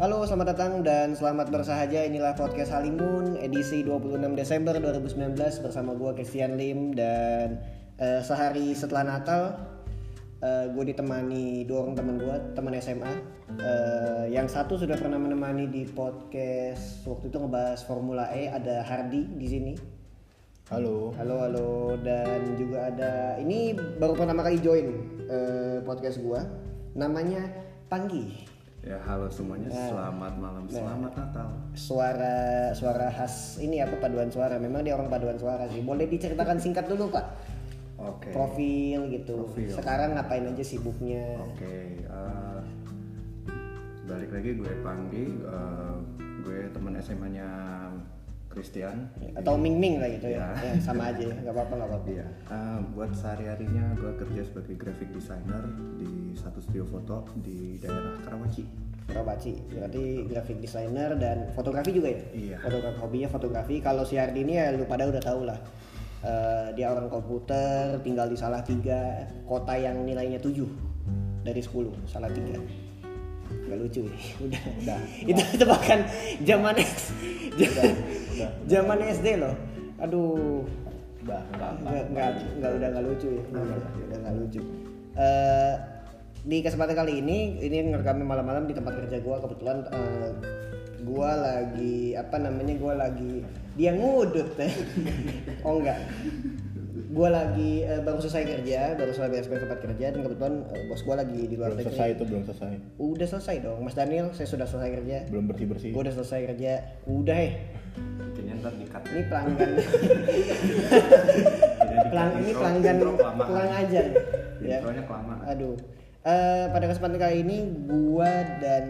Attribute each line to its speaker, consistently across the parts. Speaker 1: Halo, selamat datang dan selamat bersahaja. Inilah podcast Halimun edisi 26 Desember 2019 bersama gua Christian Lim dan eh, sehari setelah Natal eh, gue ditemani dua orang teman gua, teman SMA. Eh, yang satu sudah pernah menemani di podcast waktu itu ngebahas Formula E ada Hardi di sini.
Speaker 2: Halo.
Speaker 1: Halo, halo dan juga ada ini baru pertama kali join eh, podcast gua. Namanya Panggi.
Speaker 3: Ya halo semuanya, selamat malam, selamat Natal.
Speaker 1: suara suara khas ini apa paduan suara memang dia orang paduan suara sih boleh diceritakan singkat dulu pak
Speaker 3: Oke.
Speaker 1: profil gitu
Speaker 3: Profil.
Speaker 1: sekarang ngapain aja sibuknya
Speaker 3: Oke. eh, balik lagi gue Panggi, eh, gue teman SMA-nya Christian.
Speaker 1: atau ming ming lah gitu ya, Ya,
Speaker 3: Iya.
Speaker 1: sama aja ya nggak apa apa nggak apa apa
Speaker 3: Iya. eh, buat sehari-harinya gue kerja sebagai graphic designer di satu studio foto di daerah Karawaci.
Speaker 1: Karawaci berarti graphic designer dan fotografi juga ya
Speaker 3: Iya.
Speaker 1: fotografi hobinya fotografi kalau si Ardi ini ya lu pada udah tau lah Eh, dia orang komputer tinggal di salah tiga kota yang nilainya 7 dari 10 salah tiga nggak lucu ya udah, itu tebakan zaman S zaman SD loh aduh
Speaker 2: Bah, bah, bah.
Speaker 1: nggak nggak nggak udah nggak lucu ya udah udah nggak lucu Eh, di kesempatan kali ini ini ngerekamnya malam-malam di tempat kerja gua kebetulan eh, gua lagi apa namanya gua lagi dia ngudut ya oh enggak gua lagi eh, baru selesai kerja baru selesai beres tempat kerja dan kebetulan eh, bos gua lagi di luar
Speaker 2: Belum
Speaker 1: negeri
Speaker 2: selesai itu belum selesai.
Speaker 1: udah selesai dong Mas Daniel saya sudah selesai kerja
Speaker 2: Belum bersih bersih.
Speaker 1: gua udah selesai kerja udah eh
Speaker 3: Kayaknya ntar ya. di-cut.
Speaker 1: ini pelanggan
Speaker 3: Jadi di-cut
Speaker 1: Pelang, ini
Speaker 3: intro-
Speaker 1: pelanggan
Speaker 3: intro kelamaan.
Speaker 1: kurang ajar. ya.
Speaker 3: Intronya kelamaan.
Speaker 1: Aduh. Eh, pada kesempatan kali ini gua dan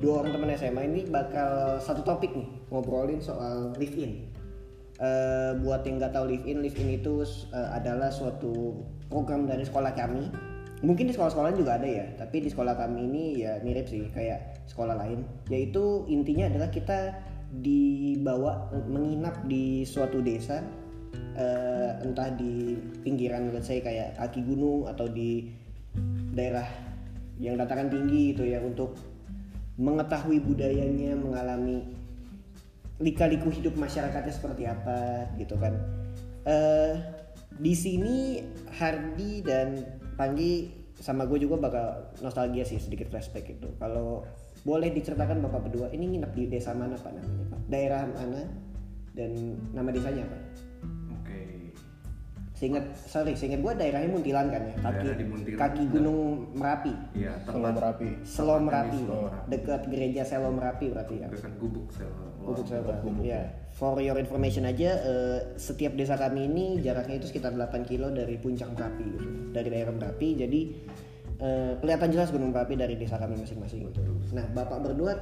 Speaker 1: dua orang teman SMA ini bakal satu topik nih ngobrolin soal live in. Eh, buat yang nggak tahu live in, live in itu eh, adalah suatu program dari sekolah kami. Mungkin di sekolah-sekolah juga ada ya, tapi di sekolah kami ini ya mirip sih kayak sekolah lain. Yaitu intinya adalah kita dibawa menginap di suatu desa eh, entah di pinggiran let's say kayak kaki gunung atau di daerah yang dataran tinggi gitu ya untuk mengetahui budayanya mengalami lika-liku hidup masyarakatnya seperti apa gitu kan eh di sini Hardi dan Panggi sama gue juga bakal nostalgia sih sedikit flashback itu kalau boleh diceritakan bapak berdua ini nginep di desa mana pak namanya pak daerah mana dan nama desanya apa
Speaker 3: Oke.
Speaker 1: Seingat, sorry, seingat gue daerahnya Muntilan kan ya, kaki,
Speaker 3: Daerah di Muntilan.
Speaker 1: kaki Gunung Merapi,
Speaker 3: Iya,
Speaker 2: Belum
Speaker 3: tempat
Speaker 2: rapi.
Speaker 1: Selo
Speaker 3: Tempatnya di
Speaker 1: Merapi,
Speaker 3: Selo Merapi.
Speaker 1: dekat gereja Selo Merapi berarti ya.
Speaker 3: dekat gubuk sel.
Speaker 1: Gubuk Selo Merapi.
Speaker 2: gubuk
Speaker 1: Ya. For your information aja, eh, setiap desa kami ini jaraknya itu sekitar 8 kilo dari puncak Merapi, gitu. dari daerah Merapi. Jadi eh, kelihatan jelas Gunung Merapi dari desa kami masing-masing. gitu. Nah, bapak berdua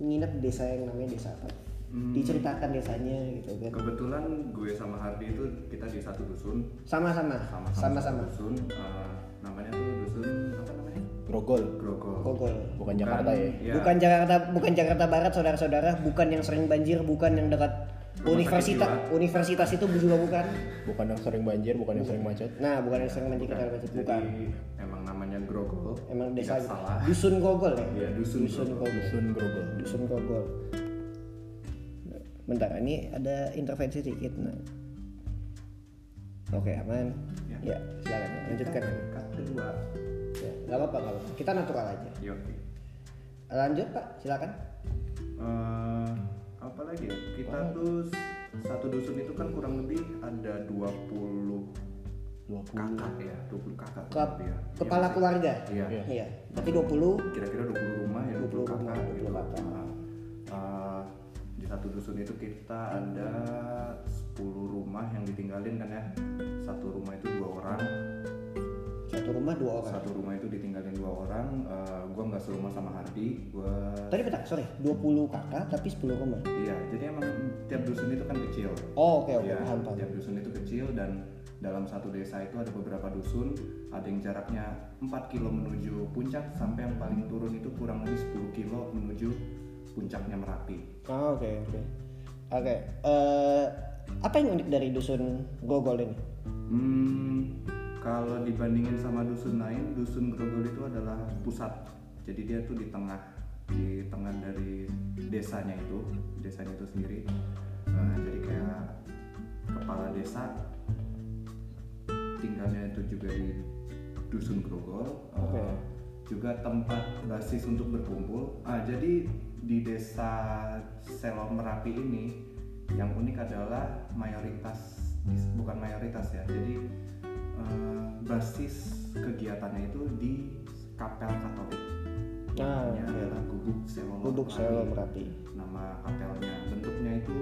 Speaker 1: nginep di desa yang namanya desa apa?
Speaker 3: Hmm.
Speaker 1: Diceritakan desanya gitu kan.
Speaker 3: Kebetulan gue sama Hardi itu kita di satu dusun,
Speaker 1: Sama-sama,
Speaker 3: sama-sama
Speaker 1: sama-sama.
Speaker 3: satu dusun. eh, namanya tuh dusun apa namanya?
Speaker 2: Grogol.
Speaker 3: Grogol.
Speaker 1: Kogol.
Speaker 2: Bukan Jakarta Oh, ya.
Speaker 3: Iya.
Speaker 1: Bukan Jakarta, bukan Jakarta Barat, saudara-saudara. Bukan yang sering banjir, bukan yang dekat
Speaker 3: Rumah
Speaker 1: universitas.
Speaker 3: sakit
Speaker 1: Universitas itu juga bukan.
Speaker 2: Bukan yang sering banjir, bukan yang sering macet.
Speaker 1: Nah, bukan yang sering banjir kita banjir, bukan.
Speaker 3: Jadi emang namanya Grogol.
Speaker 1: Emang desa
Speaker 3: Tidak salah.
Speaker 1: dusun Gogol ya.
Speaker 3: Iya, dusun
Speaker 1: dusun
Speaker 3: Grogol.
Speaker 1: Gogol.
Speaker 2: Dusun Grogol.
Speaker 1: Dusun Gogol. Bentar, ini ada intervensi sedikit. Nah. Oke, aman. Ya,
Speaker 3: Ya.
Speaker 1: silakan lanjutkan.
Speaker 3: Cut kedua.
Speaker 1: Ya, gak apa-apa, nggak apa-apa. Kita natural aja.
Speaker 3: Yo.
Speaker 1: Lanjut, Pak. Silakan.
Speaker 3: Eh, apa lagi ya? Kita tuh s- satu dusun itu kan kurang lebih ada 20
Speaker 2: 20.
Speaker 3: kakak ya, 20 kakak.
Speaker 1: Ke-
Speaker 3: ya.
Speaker 1: kepala
Speaker 3: Iya,
Speaker 1: keluarga.
Speaker 3: Iya.
Speaker 2: Iya.
Speaker 1: Iya, berarti 20
Speaker 3: kira-kira 20 rumah ya
Speaker 1: 20
Speaker 3: 20 kakak
Speaker 1: rumah,
Speaker 3: gitu.
Speaker 1: 20 kakak.
Speaker 3: Nah, eh, di satu dusun itu kita ada 10 rumah yang ditinggalin kan ya. Satu rumah itu dua orang,
Speaker 1: satu rumah dua orang
Speaker 3: satu rumah itu ditinggalin dua orang. Eh, gua nggak serumah sama Hardi, gua
Speaker 1: tadi bentar sorry 20 kakak tapi 10 rumah
Speaker 3: Iya, jadi emang tiap dusun itu kan kecil.
Speaker 1: oh oke oke
Speaker 3: Iya,
Speaker 1: paham paham
Speaker 3: tiap dusun itu kecil dan dalam satu desa itu ada beberapa dusun, ada yang jaraknya 4 kilo menuju puncak sampai yang paling turun itu kurang lebih 10 kilo menuju puncaknya Merapi.
Speaker 1: Ah, oke oke oke eh, apa yang unik dari dusun Gogol ini
Speaker 3: Hmm, kalau dibandingin sama dusun lain, dusun Grogol itu adalah pusat. Jadi dia tuh di tengah di tengah dari desanya itu desanya itu sendiri Eh, jadi kayak kepala desa tinggalnya itu juga di dusun Grogol Eh,
Speaker 1: Oke.
Speaker 3: juga tempat basis untuk berkumpul ah jadi di desa Selom Merapi ini yang unik adalah mayoritas bukan mayoritas ya jadi eh, basis kegiatannya itu di kapel Katolik
Speaker 1: Nah,
Speaker 3: namanya adalah gubuk Selom
Speaker 1: Gubuk
Speaker 3: Merapi.
Speaker 1: Selom Merapi.
Speaker 3: nama kapelnya bentuknya itu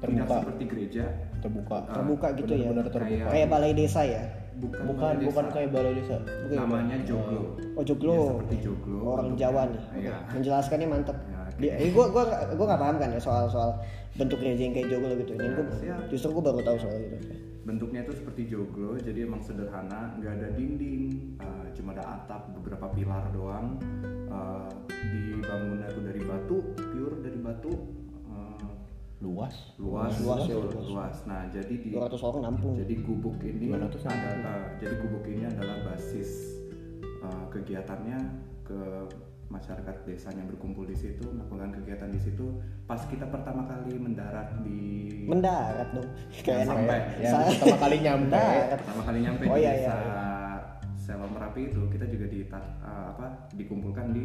Speaker 3: tidak
Speaker 2: Terbuka.
Speaker 3: seperti gereja
Speaker 2: terbuka
Speaker 3: Ah,
Speaker 1: Terbuka gitu ya.
Speaker 2: benar-benar terbuka
Speaker 1: Kayak balai desa ya.
Speaker 3: bukan
Speaker 2: bukan
Speaker 3: balai
Speaker 2: bukan
Speaker 3: desa.
Speaker 2: kayak balai desa
Speaker 1: Oke.
Speaker 3: namanya joglo
Speaker 1: Oh joglo.
Speaker 3: Ya, seperti joglo
Speaker 1: Orang
Speaker 3: bentuknya.
Speaker 1: Jawa nih. Oke,
Speaker 3: Iya.
Speaker 1: Menjelaskannya mantep.
Speaker 3: Ya, oke.
Speaker 1: Di, eh, gua gua gua nggak paham kan ya soal soal bentuk gereja yang kayak joglo gitu. Ini gua
Speaker 3: Iya, siap. Iya.
Speaker 1: justru gua baru tahu soal itu.
Speaker 3: bentuknya itu seperti joglo jadi emang sederhana nggak ada dinding eh, cuma ada atap beberapa pilar doang Eh, dibangunnya itu dari batu pure dari batu Eh,
Speaker 2: luas
Speaker 3: luas
Speaker 1: Luas ya,
Speaker 3: betul,
Speaker 1: luas.
Speaker 3: luas. nah jadi di
Speaker 1: 200 orang nampung.
Speaker 3: jadi gubuk ini
Speaker 2: 200
Speaker 3: ada eh, jadi gubuk ini adalah basis eh, kegiatannya ke masyarakat desanya berkumpul di situ melakukan kegiatan di situ pas kita pertama kali mendarat
Speaker 2: Iya.
Speaker 3: di
Speaker 1: Mendarat dong. Kayak
Speaker 3: sampai,
Speaker 1: enak.
Speaker 2: ya
Speaker 1: Sa-
Speaker 2: pertama kali nyampe
Speaker 1: Mendarat.
Speaker 3: Iya, pertama kali nyampe
Speaker 1: Oh,
Speaker 3: di
Speaker 1: iya,
Speaker 3: desa
Speaker 1: iya, iya.
Speaker 3: Selom Merapi itu kita juga di apa dikumpulkan di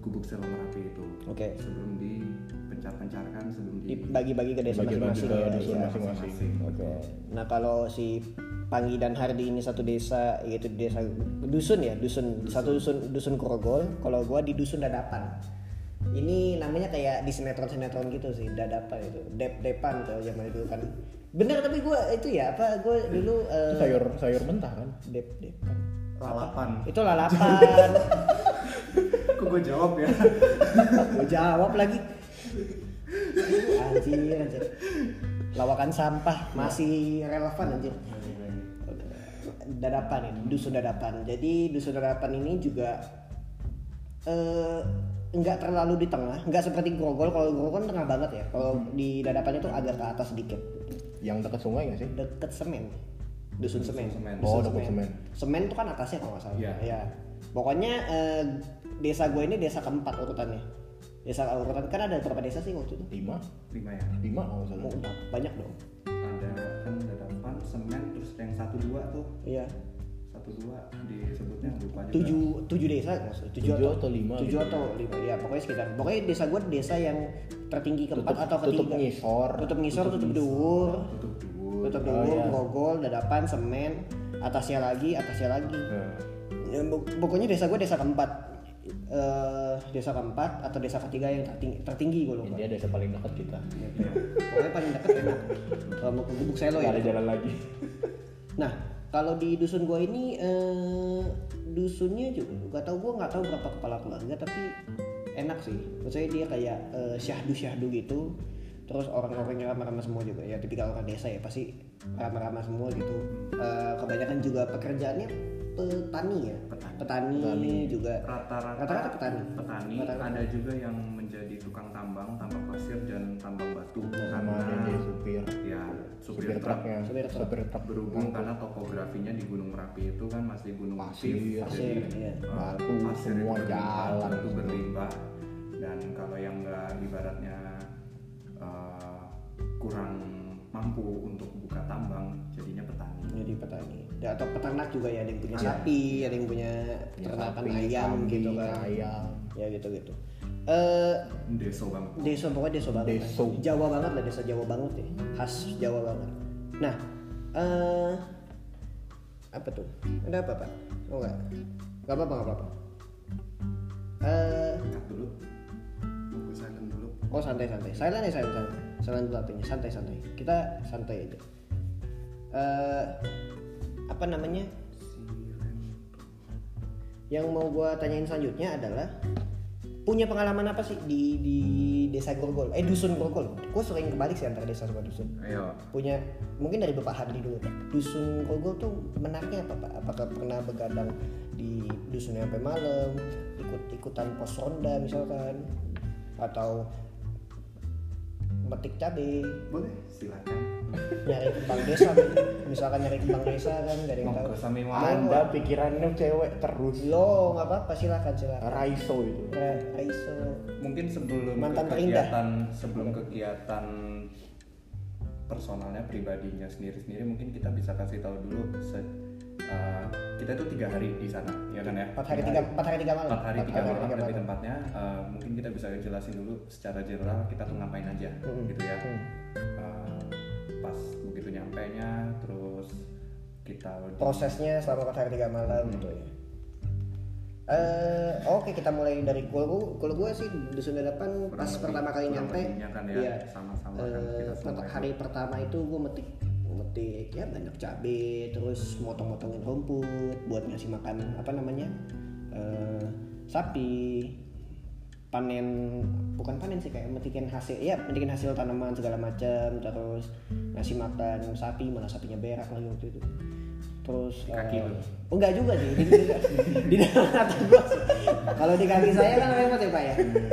Speaker 3: gubuk Selom Merapi itu
Speaker 1: Oke.
Speaker 3: sebelum dipencar-pencarkan sebelum di
Speaker 1: Dibagi-bagi ke desa
Speaker 2: bagi bagi
Speaker 1: masing-masing.
Speaker 2: ke
Speaker 1: ya,
Speaker 2: dusun
Speaker 1: iya.
Speaker 2: masing-masing
Speaker 1: Oke. Nah kalau si Panggi dan Hardi ini satu desa, yaitu desa dusun ya, dusun, satu dusun dusun Krogol. Kalau gua di dusun Dadapan. Ini namanya kayak di sinetron-sinetron gitu sih, Dadapan itu, Dep Depan kalau zaman dulu kan. Bener tapi gua itu ya apa gua dulu
Speaker 2: Itu
Speaker 1: eh,
Speaker 2: sayur sayur mentah kan
Speaker 1: Dep Depan.
Speaker 3: lalapan
Speaker 1: Itu lalapan.
Speaker 3: kok gue jawab ya
Speaker 1: Gua jawab lagi. Anjir, anjir. Lawakan sampah masih relevan anjir. dadapan ini dusun dadapan jadi dusun dadapan ini juga eh, nggak terlalu di tengah nggak seperti grogol kalau grogol kan tengah banget ya kalau di dadapan itu agak ke atas sedikit
Speaker 2: yang dekat sungai nggak sih
Speaker 1: deket semen dusun semen
Speaker 3: semen.
Speaker 2: Oh, deket semen.
Speaker 1: semen itu kan atasnya kalau nggak salah
Speaker 3: Iya.
Speaker 1: Iya. pokoknya eh, desa gue ini desa keempat urutannya desa urutan kan ada berapa desa sih waktu itu
Speaker 2: lima
Speaker 3: lima ya
Speaker 2: lima kalau nggak
Speaker 1: Oh,
Speaker 2: salah
Speaker 1: udah banyak dong
Speaker 3: ada kan dadapan semen terus yang satu dua tuh
Speaker 1: iya
Speaker 3: satu dua disebutnya lupa juga
Speaker 1: tujuh tujuh desa maksudnya tujuh,
Speaker 2: Tujuh atau lima
Speaker 1: tujuh
Speaker 2: gitu.
Speaker 1: atau lima ya pokoknya sekitar pokoknya desa gue desa yang tertinggi keempat
Speaker 2: Tutup-
Speaker 1: atau ketiga
Speaker 2: tutup ngisor.
Speaker 1: tutup ngisor tutup duur
Speaker 3: tutup dua
Speaker 1: tutup
Speaker 2: Oh,
Speaker 1: duur
Speaker 2: iya.
Speaker 1: grogol dadapan semen atasnya lagi atasnya lagi
Speaker 2: Nah,
Speaker 1: Ya, pok- pokoknya desa gue desa keempat Eh, desa keempat atau desa ketiga yang tertinggi tertinggi gue lupa
Speaker 2: Nah, ini ada yang paling dekat kita
Speaker 3: Iya,
Speaker 1: pokoknya paling dekat enak kalau mau ke gubuk selo
Speaker 2: Nggak
Speaker 1: ya
Speaker 2: ada jalan lagi
Speaker 1: Nah, kalau di dusun gua ini eh, dusunnya juga nggak tahu gua nggak tahu berapa kepala keluarga tapi enak sih. Maksudnya dia kayak eh, syahdu-syahdu gitu. Terus orang-orangnya ramah-ramah semua juga ya tipikal orang desa ya pasti ramah-ramah semua gitu. Eh, kebanyakan juga pekerjaannya petani ya.
Speaker 3: Petani.
Speaker 1: Petani, juga
Speaker 3: rata-rata
Speaker 1: Rata-rata petani.
Speaker 3: petani
Speaker 1: Rata-rata.
Speaker 3: ada juga yang menjadi tukang tambang tambang pasir dan tambang batu
Speaker 2: Nah, sama
Speaker 3: karena
Speaker 2: dia jadi supir
Speaker 3: ya
Speaker 2: supir
Speaker 3: supir truk
Speaker 2: truknya
Speaker 1: Nah. Supir truk.
Speaker 2: supir truk
Speaker 3: berhubung karena topografinya di Gunung Merapi itu kan masih gunung
Speaker 2: Pasir,
Speaker 3: aktif
Speaker 1: pasir,
Speaker 3: jadi
Speaker 1: iya.
Speaker 3: eh,
Speaker 2: Batu,
Speaker 3: pasir itu
Speaker 2: semua
Speaker 3: berlimpah,
Speaker 2: jalan.
Speaker 3: batu berlimpah dan kalau yang nggak ibaratnya eh, kurang mampu untuk buka tambang jadinya petani
Speaker 1: jadi petani. Ya, atau peternak juga ya ada yang punya
Speaker 3: Ada.
Speaker 1: sapi, ada yang punya
Speaker 2: Ya,
Speaker 1: peternakan
Speaker 2: Iya. sapi,
Speaker 1: ayam gitu
Speaker 2: kambing,
Speaker 1: kan.
Speaker 2: ayam
Speaker 1: Ya gitu-gitu. Eh
Speaker 3: deso bang
Speaker 1: Desa pokoknya desa banget.
Speaker 2: Deso.
Speaker 1: lah. Jawa banget lah desa Jawa banget ya. Khas Jawa banget. Nah, eh apa tuh? Ada apa pak? Oh enggak. Enggak apa-apa, enggak apa-apa. Eh,
Speaker 3: angkat dulu aku silent dulu
Speaker 1: oh santai-santai. Silent ya, silent, silent. Silent dulu hpnya. Santai-santai. Kita santai aja. Eh, apa namanya? Yang mau gua tanyain selanjutnya adalah punya pengalaman apa sih di di desa Gorgol? Eh dusun Gorgol. Gue sering kebalik sih antara desa sama dusun.
Speaker 3: ayo
Speaker 1: punya mungkin dari Bapak Hadi dulu Pak. Dusun Kogol tuh menariknya apa Pak? Apakah pernah begadang di dusun sampai malam, ikut ikutan pos ronda misalkan atau metik cabai
Speaker 3: boleh silakan
Speaker 1: nyari kembang desa misalkan nyari kembang desa kan gak ada yang tahu
Speaker 3: monggo sambil ngomong
Speaker 2: Anda pikirannya cewek terus.
Speaker 1: lo nggak apa-apa silakan silakan
Speaker 2: Raiso itu.
Speaker 1: Ra- Raiso
Speaker 3: mungkin sebelum
Speaker 1: Mantan
Speaker 3: ke
Speaker 1: terindah.
Speaker 3: kegiatan sebelum kegiatan personalnya pribadinya sendiri-sendiri mungkin kita bisa kasih tahu dulu se- eh, kita itu tiga hari di sana ya kan ya
Speaker 1: empat hari tiga empat hari tiga malam
Speaker 3: empat hari tiga
Speaker 1: Empat
Speaker 3: malam berarti tempatnya eh, mungkin kita bisa jelasin dulu secara general kita tuh ngapain aja
Speaker 1: Mm-mm.
Speaker 3: gitu ya
Speaker 1: Mm.
Speaker 3: Eh, pas begitu nyampe nya terus kita
Speaker 1: prosesnya selama empat hari tiga malam
Speaker 3: Hmm.
Speaker 1: gitu ya Eh, oke kita mulai dari kalau gue, gue sih dusun dadapan
Speaker 3: Kurang
Speaker 1: pas
Speaker 3: lebih-
Speaker 1: pertama kali
Speaker 3: kurang
Speaker 1: nyampe iya.
Speaker 3: lebihnya kan ya, sama-sama kan
Speaker 1: Eh,
Speaker 3: kita semua
Speaker 1: perta-
Speaker 3: itu.
Speaker 1: hari pertama itu gue metik metik ya banyak cabe terus motong-motongin rumput buat ngasih makan apa namanya eh, sapi panen bukan panen sih kayak metikin hasil ya metikin hasil tanaman segala macam terus ngasih makan sapi malah sapinya berak lagi waktu itu terus
Speaker 3: Di kaki
Speaker 1: eh,
Speaker 3: lu?
Speaker 1: oh, enggak juga sih di, di, di dalam kata gua sih. kalau di kaki saya kan repot ya pak ya
Speaker 3: Hmm.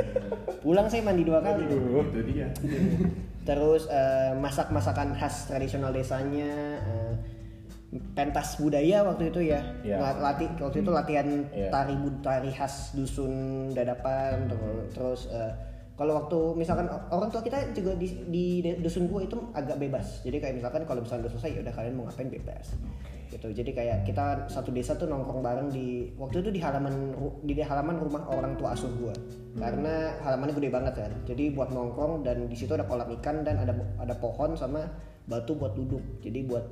Speaker 1: pulang saya mandi dua kali
Speaker 3: itu dia
Speaker 1: terus eh, masak-masakan khas tradisional desanya eh, pentas budaya waktu itu ya
Speaker 2: Iya.
Speaker 1: Lat- lati- waktu itu latihan
Speaker 2: Iya.
Speaker 1: tari bud- tari khas dusun dadapan ter- terus eh, kalau waktu misalkan o- orang tua kita juga di, di de- dusun gua itu agak bebas jadi kayak misalkan kalau misalkan udah selesai ya udah kalian mau ngapain bebas gitu jadi kayak kita satu desa tuh nongkrong bareng di waktu itu di halaman ru- di halaman rumah orang tua asuh gua karena halamannya gede banget kan jadi buat nongkrong dan di situ ada kolam ikan dan ada ada pohon sama batu buat duduk jadi buat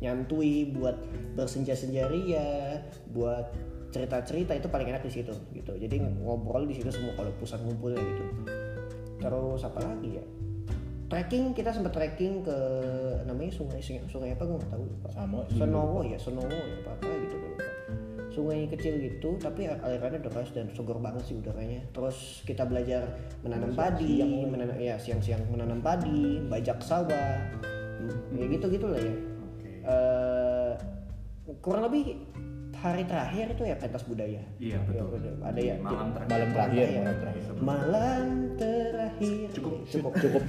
Speaker 1: nyantui buat bersenja-senja ria buat cerita-cerita itu paling enak di situ gitu jadi ngobrol di situ semua kalau pusat ngumpulnya gitu terus apa lagi ya trekking kita sempat trekking ke namanya sungai sungai, sungai apa gue nggak tahu lupa
Speaker 2: Sama, iya.
Speaker 1: Senowo ya Senowo ya apa apa gitu gue lupa sungai kecil gitu tapi alirannya deras dan segar banget sih udaranya terus kita belajar menanam padi menanam ya siang-siang menanam padi bajak sawah ya gitu gitulah ya
Speaker 3: Oke.
Speaker 1: Eh, kurang lebih hari terakhir itu ya pentas budaya
Speaker 3: iya betul
Speaker 1: Ya, ada ya
Speaker 3: malam terakhir
Speaker 2: Malam terakhir,
Speaker 1: Iya.
Speaker 2: malam terakhir.
Speaker 1: malam terakhir
Speaker 3: Cukup.
Speaker 1: cukup
Speaker 2: Cukup.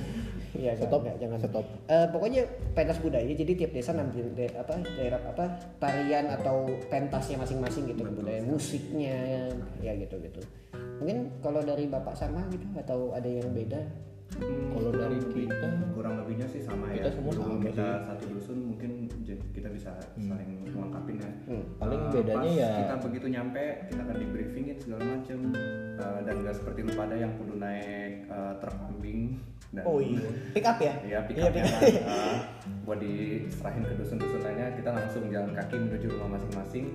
Speaker 1: Iya,
Speaker 2: Stop.
Speaker 1: enggak, jangan
Speaker 2: Stop.
Speaker 1: Eh, pokoknya pentas budaya jadi tiap desa nampil de- apa daerah apa tarian atau pentasnya masing-masing gitu
Speaker 3: Betul
Speaker 1: budaya
Speaker 3: sekali.
Speaker 1: musiknya ya gitu gitu mungkin kalau dari bapak sama gitu atau ada yang beda
Speaker 3: Hmm,
Speaker 2: Kalau
Speaker 3: kurang
Speaker 2: dari
Speaker 3: lebih-
Speaker 2: kita,
Speaker 3: kurang lebihnya sih sama
Speaker 2: kita
Speaker 3: ya
Speaker 2: semua
Speaker 3: Dulu
Speaker 2: sama
Speaker 3: kita
Speaker 2: sih. Hmm.
Speaker 3: satu dusun mungkin j- kita bisa saling melengkapin ya
Speaker 1: Hmm.
Speaker 2: Paling
Speaker 3: Eh,
Speaker 2: bedanya
Speaker 3: pas
Speaker 2: ya-
Speaker 3: kita begitu nyampe kita akan di briefingin segala macam Eh, dan nggak seperti lu pada yang perlu naik eh, truk kambing dan
Speaker 2: Oh,
Speaker 1: Oh
Speaker 2: iya.
Speaker 1: pick up ya
Speaker 3: ya pick up-nya kan, eh, buat diserahin ke dusun-dusun lainnya kita langsung jalan kaki menuju rumah masing-masing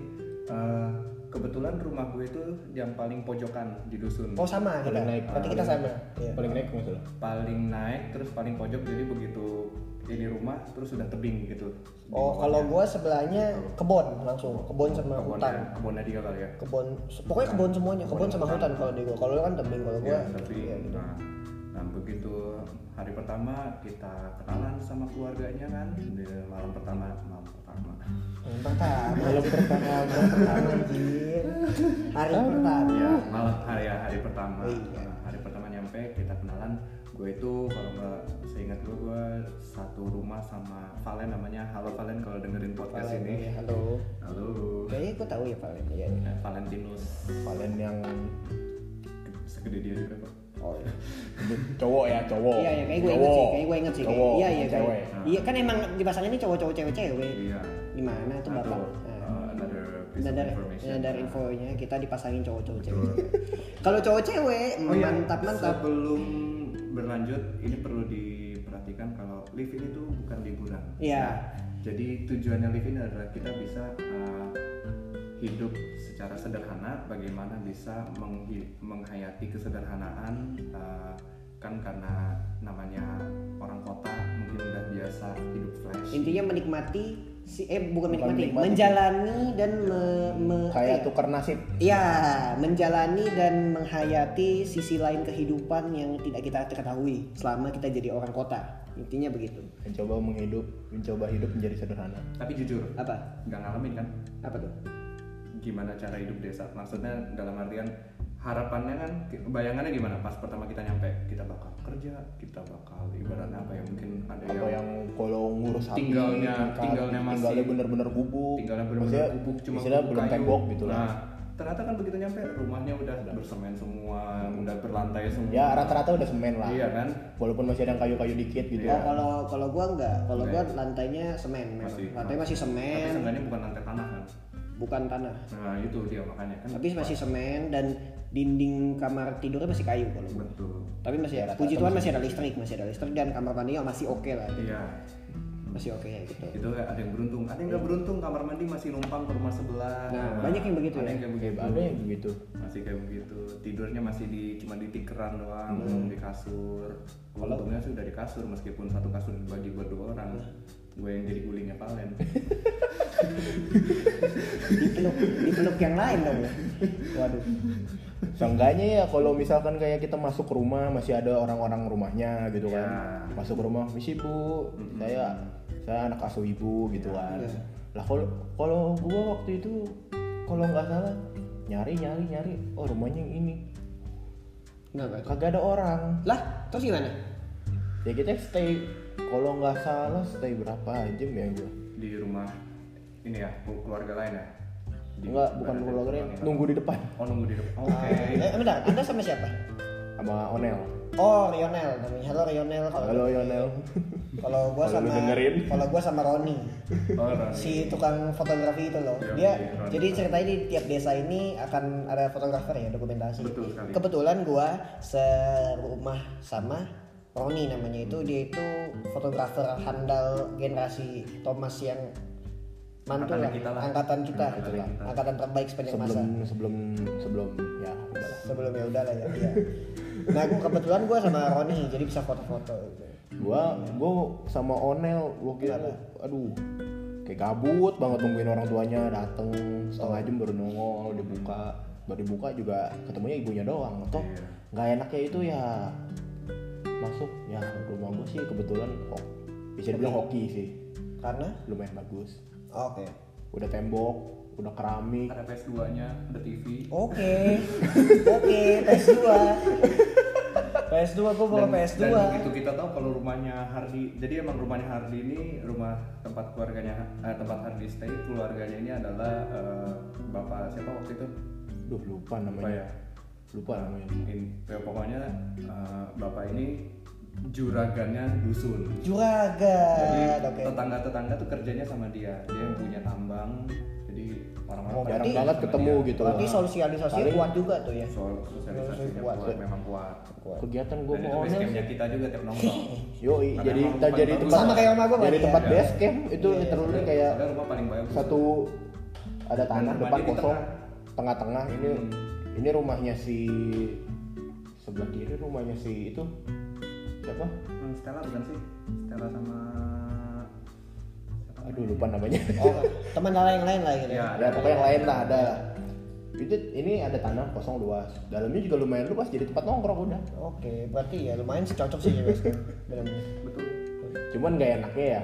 Speaker 3: Eh, kebetulan rumah gue itu yang paling pojokan di dusun
Speaker 1: oh sama kita
Speaker 2: Paling naik.
Speaker 1: berarti kita sama Iya.
Speaker 2: Paling naik masalah.
Speaker 3: paling naik terus paling pojok jadi begitu ini rumah terus sudah tebing gitu
Speaker 1: oh
Speaker 3: Di bawahnya.
Speaker 1: kalau gua sebelahnya kebon langsung kebon sama
Speaker 3: kebunnya
Speaker 1: hutan
Speaker 3: kebunnya dia kali ya
Speaker 1: kebon pokoknya kebon semuanya kebon sama hutan kalau di gua kalau lu kan tebing kalau gua
Speaker 3: Iya, tapi nah, nah begitu hari pertama kita kenalan sama keluarganya kan di malam pertama malam pertama
Speaker 1: Yang pertama malam pertama malam pertama anjir hari pertama
Speaker 3: ya malam hari ya, hari pertama
Speaker 1: Oh, iya.
Speaker 3: Nah, hari pertama nyampe kita kenalan gue itu kalau nggak seingat gue gue satu rumah sama Valen namanya halo Valen kalau dengerin podcast
Speaker 1: Valen,
Speaker 3: ini
Speaker 1: ya, halo
Speaker 3: halo
Speaker 1: kayaknya gue tahu ya Valen ya
Speaker 3: Eh, Valentinus
Speaker 2: Kalian yang
Speaker 3: segede dia juga kok
Speaker 1: oh iya
Speaker 2: cowok ya cowok.
Speaker 1: iya ya, kayaknya gue inget sih kayaknya gue inget sih
Speaker 2: Cowok.
Speaker 1: kayak- iya iya
Speaker 2: cewek.
Speaker 1: kayak- iya kan emang di pasangan ini cowok-cowok cewek-cewek
Speaker 3: iya
Speaker 1: gimana tuh bapak
Speaker 3: Atau,
Speaker 1: nah,
Speaker 3: uh, another piece of
Speaker 1: Nadar,
Speaker 3: information
Speaker 1: nadar
Speaker 3: Nah,
Speaker 1: infonya kita dipasangin cowok-cowok cewek. Kalau cowok cewek
Speaker 3: Oh iya,
Speaker 1: mantap mantap.
Speaker 3: Sebelum berlanjut, ini perlu diperhatikan kalau live in itu bukan liburan.
Speaker 1: Iya.
Speaker 3: Nah, Jadi tujuannya live in adalah kita bisa uh, hidup secara sederhana, bagaimana bisa menghi- menghayati kesederhanaan. uh, kan karena namanya orang kota mungkin udah biasa hidup flash.
Speaker 1: Intinya menikmati si eh bukan, menikmati,
Speaker 2: Bukan menikmati.
Speaker 1: menjalani dan me, me-
Speaker 2: Kayak
Speaker 1: eh,
Speaker 2: tukar nasib.
Speaker 1: Ya, menjalani dan menghayati sisi lain kehidupan yang tidak kita ketahui selama kita jadi orang kota. Intinya begitu.
Speaker 2: Mencoba menghidup, mencoba hidup menjadi sederhana.
Speaker 3: Tapi jujur,
Speaker 1: Apa?
Speaker 3: nggak ngalamin kan?
Speaker 1: Apa tuh?
Speaker 3: Gimana cara hidup desa? Maksudnya dalam artian harapannya kan bayangannya gimana pas pertama kita nyampe kita bakal kerja kita bakal ibaratnya apa ya mungkin ada
Speaker 2: atau
Speaker 3: yang
Speaker 2: yang kalau ngurus sapi
Speaker 3: Tinggalnya-
Speaker 2: makan,
Speaker 3: tinggalnya masih-
Speaker 2: tinggalnya bener-bener gubuk
Speaker 3: tinggalnya
Speaker 2: Maksudnya,
Speaker 3: benar-benar kubuk cuma
Speaker 2: istilahnya
Speaker 3: kubuk
Speaker 2: belum
Speaker 3: kayu.
Speaker 2: tembok gitu lah
Speaker 3: nah ternyata kan begitu nyampe rumahnya udah bersemen semua udah berlantai semua
Speaker 2: ya rata-rata udah semen lah
Speaker 3: iya kan
Speaker 2: walaupun masih ada yang kayu-kayu dikit gitu
Speaker 1: Oh, kalau kalau gua enggak, kalau gua lantainya semen memang.
Speaker 3: Masih.
Speaker 1: Lantai masih
Speaker 3: tapi
Speaker 1: semen,
Speaker 3: seenggaknya bukan lantai tanah kan
Speaker 1: bukan tanah.
Speaker 3: nah itu dia makanya kan
Speaker 1: Tapi masih semen dan dinding kamar tidurnya masih kayu kalau gua.
Speaker 3: betul
Speaker 1: Tapi masih
Speaker 2: Ya,
Speaker 1: puji
Speaker 2: rata-rata
Speaker 1: Tuhan masih ada listrik, masih ada listrik dan kamar mandinya masih oke lah.
Speaker 3: iya
Speaker 1: Masih oke ya gitu.
Speaker 3: itu ada yang beruntung ada yang
Speaker 2: Iya.
Speaker 3: nggak beruntung kamar mandi masih numpang ke rumah sebelah
Speaker 1: Nah, banyak yang begitu
Speaker 3: ada
Speaker 1: ya?
Speaker 3: yang kayak
Speaker 2: Kayak
Speaker 3: begitu
Speaker 2: ada yang begitu
Speaker 3: masih kayak begitu tidurnya masih di cuma di tikeran doang
Speaker 2: Hmm.
Speaker 3: belum di kasur
Speaker 1: Kalau-
Speaker 3: untungnya sih udah di kasur meskipun satu kasur dibagi berdua orang
Speaker 2: Hmm.
Speaker 3: gue yang jadi gulingnya palen
Speaker 1: Dipeluk, dipeluk yang lain dong ya. Waduh.
Speaker 2: Seenggaknya ya kalau misalkan kayak kita masuk ke rumah masih ada orang-orang rumahnya gitu kan.
Speaker 3: Ya.
Speaker 2: Masuk ke rumah, misi bu, saya saya anak asuh ibu gitu kan.
Speaker 1: Iya.
Speaker 2: Lah kalau kalau gua waktu itu kalau nggak salah nyari nyari nyari, oh rumahnya yang ini
Speaker 1: Kenapa?
Speaker 2: kagak ada orang.
Speaker 1: Lah, terus gimana?
Speaker 2: Ya kita stay kalau nggak salah stay berapa jam ya gua?
Speaker 3: di rumah ini ya keluarga lain ya Di-
Speaker 2: Enggak, bukan
Speaker 3: ada
Speaker 2: keluarga Ah.
Speaker 3: rumah ini.
Speaker 2: nunggu di depan
Speaker 3: oh nunggu di depan oke
Speaker 1: Eh, bentar, Anda sama siapa?
Speaker 2: sama Onel.
Speaker 1: Oh, Rionel namanya. Halo Rionel. Kalau-
Speaker 2: Halo Onel.
Speaker 1: Kalau gua
Speaker 2: Kalau lu
Speaker 1: sama
Speaker 2: dengerin.
Speaker 1: kalau gua sama Roni.
Speaker 3: orang
Speaker 1: si tukang fotografi itu loh
Speaker 3: Iya,
Speaker 1: dia
Speaker 3: iya.
Speaker 1: jadi ceritanya di tiap desa ini akan ada fotografer ya dokumentasi
Speaker 3: Betul sekali.
Speaker 1: kebetulan gua serumah sama Roni namanya itu dia itu fotografer handal generasi Thomas yang mantul
Speaker 3: Angkatan
Speaker 1: lah
Speaker 3: kita lah.
Speaker 1: angkatan kita
Speaker 3: Angkatan
Speaker 1: gitu lah.
Speaker 3: kita.
Speaker 1: angkatan terbaik sepanjang masa
Speaker 2: Sebelum sebelum sebelum ya udahlah.
Speaker 1: sebelumnya udah lah ya iya. nah gua kebetulan gua sama Roni jadi bisa foto-foto gitu.
Speaker 2: gua gua sama Onel gua kira aduh kayak gabut banget nungguin orang tuanya dateng setengah
Speaker 3: Oh.
Speaker 2: jam baru nongol dibuka baru dibuka juga ketemunya ibunya doang toh
Speaker 3: Iya.
Speaker 2: nggak enaknya itu ya masuk ya rumah gua sih kebetulan kok bisa dibilang hoki sih
Speaker 1: karena
Speaker 2: lumayan bagus
Speaker 1: oke
Speaker 2: udah tembok udah keramik
Speaker 3: ada PS2 nya ada TV
Speaker 1: Oke, oke, PS2. PS2
Speaker 2: Oh,
Speaker 1: gue bawa PS2.
Speaker 3: dan begitu kita tahu kalau rumahnya Hardi jadi emang rumahnya Hardi ini rumah tempat keluarganya eh, tempat Hardi stay keluarganya ini adalah eh, bapak siapa waktu itu
Speaker 2: duh lupa
Speaker 3: Apa
Speaker 2: namanya
Speaker 3: ya?
Speaker 2: lupa namanya
Speaker 3: In- ya, pokoknya eh, bapak ini juragannya dusun
Speaker 1: Juragan.
Speaker 3: jadi
Speaker 1: Eh, Oke.
Speaker 3: tetangga-tetangga tuh kerjanya sama dia dia yang punya tambang jadi orang-orang
Speaker 2: Oh,
Speaker 3: pada
Speaker 2: jarang
Speaker 1: berarti-
Speaker 2: banget
Speaker 3: sama
Speaker 2: ketemu
Speaker 3: dia.
Speaker 2: gitu loh.
Speaker 1: Berarti sosialisasinya
Speaker 2: Paling-
Speaker 1: kuat juga tuh ya.
Speaker 3: soal sosialisasinya
Speaker 1: Kuat.
Speaker 3: kuat, memang kuat
Speaker 1: Kuat.
Speaker 2: kegiatan gua
Speaker 3: dan
Speaker 2: sama
Speaker 3: itu base
Speaker 2: Onel sih
Speaker 3: campnya kita juga tiap nongkrong
Speaker 2: Yoi,
Speaker 3: Karena
Speaker 2: jadi
Speaker 3: emang
Speaker 2: kita
Speaker 3: paling
Speaker 2: jadi
Speaker 3: bagus.
Speaker 2: tempat
Speaker 1: Sama kayak rumah gua,
Speaker 2: Jadi
Speaker 1: Pak,
Speaker 2: tempat
Speaker 1: ya.
Speaker 2: base camp itu
Speaker 1: Iya,
Speaker 2: literally kayak
Speaker 3: Soalnya rumah paling bagus
Speaker 2: satu ada tanah
Speaker 3: rumahnya
Speaker 2: depan
Speaker 3: di
Speaker 2: kosong, tengah-tengah ini
Speaker 3: Hmm.
Speaker 2: ini rumahnya si sebelah kiri rumahnya si itu siapa?
Speaker 3: Hmm, Stella bukan sih? Stella sama siapa
Speaker 2: Aduh lupa namanya.
Speaker 1: Oh, teman lain yang lain lah gitu.
Speaker 3: Ya,
Speaker 2: ada pokoknya yang lain lah ada. Itu ini ada tanah kosong luas. Dalamnya juga lumayan luas jadi tempat nongkrong udah.
Speaker 1: Oke, berarti ya lumayan sih cocok sih ya guys. Benar-benar.
Speaker 3: betul
Speaker 2: Cuman gak enaknya ya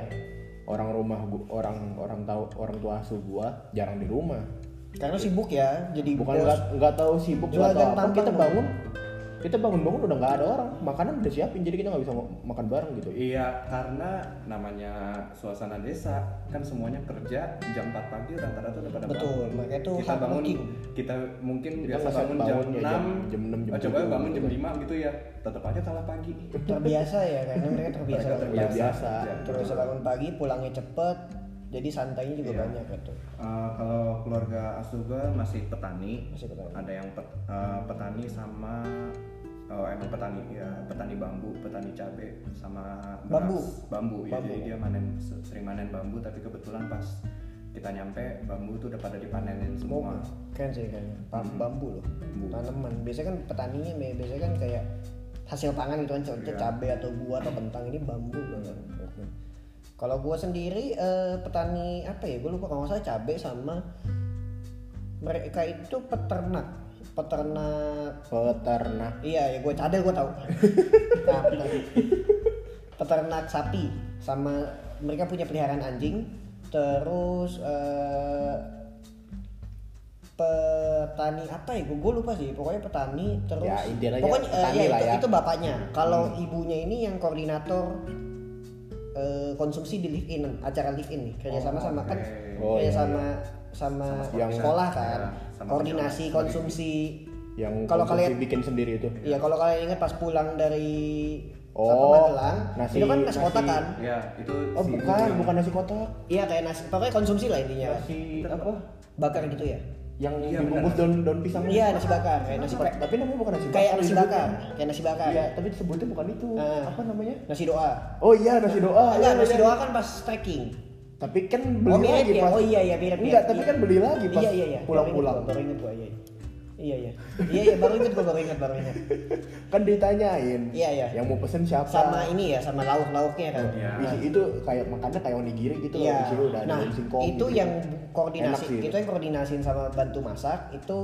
Speaker 2: orang rumah gua, orang orang tahu orang tua asuh gua jarang di rumah.
Speaker 1: Karena sibuk ya, jadi
Speaker 2: bukan
Speaker 1: bos.
Speaker 2: nggak nggak tahu sibuk
Speaker 1: Juragan
Speaker 2: nggak tahu apa
Speaker 1: tampang
Speaker 2: kita
Speaker 1: dong.
Speaker 2: bangun kita bangun bangun udah nggak ada orang makanan udah siapin jadi kita nggak bisa ngo- makan bareng gitu
Speaker 3: iya karena namanya suasana desa kan semuanya kerja jam 4 pagi rata-rata udah pada
Speaker 1: Betul,
Speaker 3: bangun.
Speaker 1: mereka tuh
Speaker 3: kita
Speaker 1: hard
Speaker 3: bangun
Speaker 1: working.
Speaker 3: kita mungkin
Speaker 2: Kita
Speaker 3: biasa
Speaker 2: nggak
Speaker 3: bangun, jam
Speaker 2: bangun ya
Speaker 3: 6
Speaker 2: jam- jam 6, jam
Speaker 3: oh, coba
Speaker 2: 7
Speaker 3: bangun jam
Speaker 2: gitu.
Speaker 3: 5 gitu ya tetap aja kalah pagi
Speaker 2: Iya,
Speaker 1: Terbiasa ya, karena mereka terbiasa.
Speaker 3: Mereka
Speaker 1: bangun
Speaker 2: terbiasa.
Speaker 1: pagi.
Speaker 3: Ya.
Speaker 1: Terbiasa bangun pagi, pulangnya cepet, jadi santainya juga
Speaker 3: Iya.
Speaker 1: banyak gitu.
Speaker 3: Eh, kalau keluarga Asuga masih petani,
Speaker 1: Masih petani.
Speaker 3: ada yang pet- eh, petani sama oh, emang petani ya petani bambu, petani cabe sama beras.
Speaker 1: Bambu.
Speaker 3: bambu, ya,
Speaker 1: Bambu.
Speaker 3: jadi dia manen sering manen bambu tapi kebetulan pas kita nyampe bambu itu udah pada dipanenin semua.
Speaker 1: Keren sih kayaknya. Bambu, bambu loh.
Speaker 3: Bambu.
Speaker 1: Tanaman. Biasanya kan petaninya bi- biasanya kan kayak hasil pangan gitu kan contohnya
Speaker 3: Iya.
Speaker 1: cabai atau buah atau kentang ini bambu banget. Oke. Kalau gua sendiri eh, petani apa ya? Gua lupa kalau nggak salah cabai sama mereka itu peternak. Peternak
Speaker 2: peternak
Speaker 1: Iya, ya gue cadel gue tahu. Nah, peternak. peternak sapi sama mereka punya peliharaan anjing, terus eh, petani apa ya gue lupa sih pokoknya petani terus
Speaker 2: Ya, intinya aja
Speaker 1: pokoknya eh,
Speaker 2: petani
Speaker 1: ya,
Speaker 2: lah
Speaker 1: itu,
Speaker 2: ya.
Speaker 1: itu bapaknya kalau ibunya ini yang koordinator eh, konsumsi di live in acara live in nih kerjasama sama kan
Speaker 3: oke.
Speaker 2: Oh, iya,
Speaker 1: kerjasama sama,
Speaker 2: sekolah.
Speaker 1: yang sekolah kan
Speaker 3: Ya, sama
Speaker 1: koordinasi
Speaker 3: sekolah.
Speaker 1: konsumsi
Speaker 2: yang
Speaker 1: Kalau
Speaker 2: konsumsi
Speaker 1: kalian-
Speaker 2: bikin sendiri itu
Speaker 1: ya kalau kalian ingat pas pulang dari apa,
Speaker 2: Iya. Oh,
Speaker 1: Magelang
Speaker 2: nasi-
Speaker 1: itu kan nasi
Speaker 2: nasi-
Speaker 1: kotak kan
Speaker 3: ya itu
Speaker 2: oh
Speaker 3: si
Speaker 2: bukan
Speaker 3: ibu
Speaker 2: bukan
Speaker 3: yang-
Speaker 2: nasi kotak
Speaker 1: iya kayak nasi pokoknya konsumsi lah
Speaker 2: Iya.
Speaker 1: intinya
Speaker 2: nasi apa
Speaker 1: bakar gitu ya
Speaker 2: yang
Speaker 3: Iya,
Speaker 2: dibungkus
Speaker 3: benar.
Speaker 2: daun daun pisang
Speaker 1: iya nasi bakar kayak nasi
Speaker 2: Kayak- tapi namanya bukan nasi
Speaker 1: kayak nasi
Speaker 2: disebutnya.
Speaker 1: bakar kayak nasi bakar
Speaker 2: Iya, tapi sebutnya bukan itu.
Speaker 1: Eh.
Speaker 2: Apa namanya?
Speaker 1: nasi doa
Speaker 2: Oh iya, nasi doa.
Speaker 1: enggak
Speaker 2: Iya,
Speaker 1: nasi
Speaker 2: iya.
Speaker 1: doa kan pas trekking
Speaker 2: Tapi kan beli
Speaker 1: oh mirip
Speaker 2: lagi
Speaker 1: ya
Speaker 2: pas.
Speaker 1: oh iya iya mirip
Speaker 2: Enggak,
Speaker 1: mirip.
Speaker 2: tapi
Speaker 1: Iya.
Speaker 2: kan beli lagi pas
Speaker 1: iya iya iya
Speaker 2: pulang-pulang.
Speaker 1: baru inget gua iya iya iya iya iya baru inget gua baru inget baru inget
Speaker 2: Kan ditanyain.
Speaker 1: Iya, iya.
Speaker 2: Yang mau pesen siapa?
Speaker 1: sama ini ya sama lauk lauknya kan
Speaker 3: Iya.
Speaker 2: Isi- itu kayak makannya kayak onigiri gitu loh. Di sini udah
Speaker 1: nah
Speaker 2: ada singkong.
Speaker 1: itu
Speaker 2: gitu.
Speaker 1: yang koordinasi gitu ya.
Speaker 2: Enak sih
Speaker 1: itu
Speaker 2: itu.
Speaker 1: yang koordinasiin sama bantu masak itu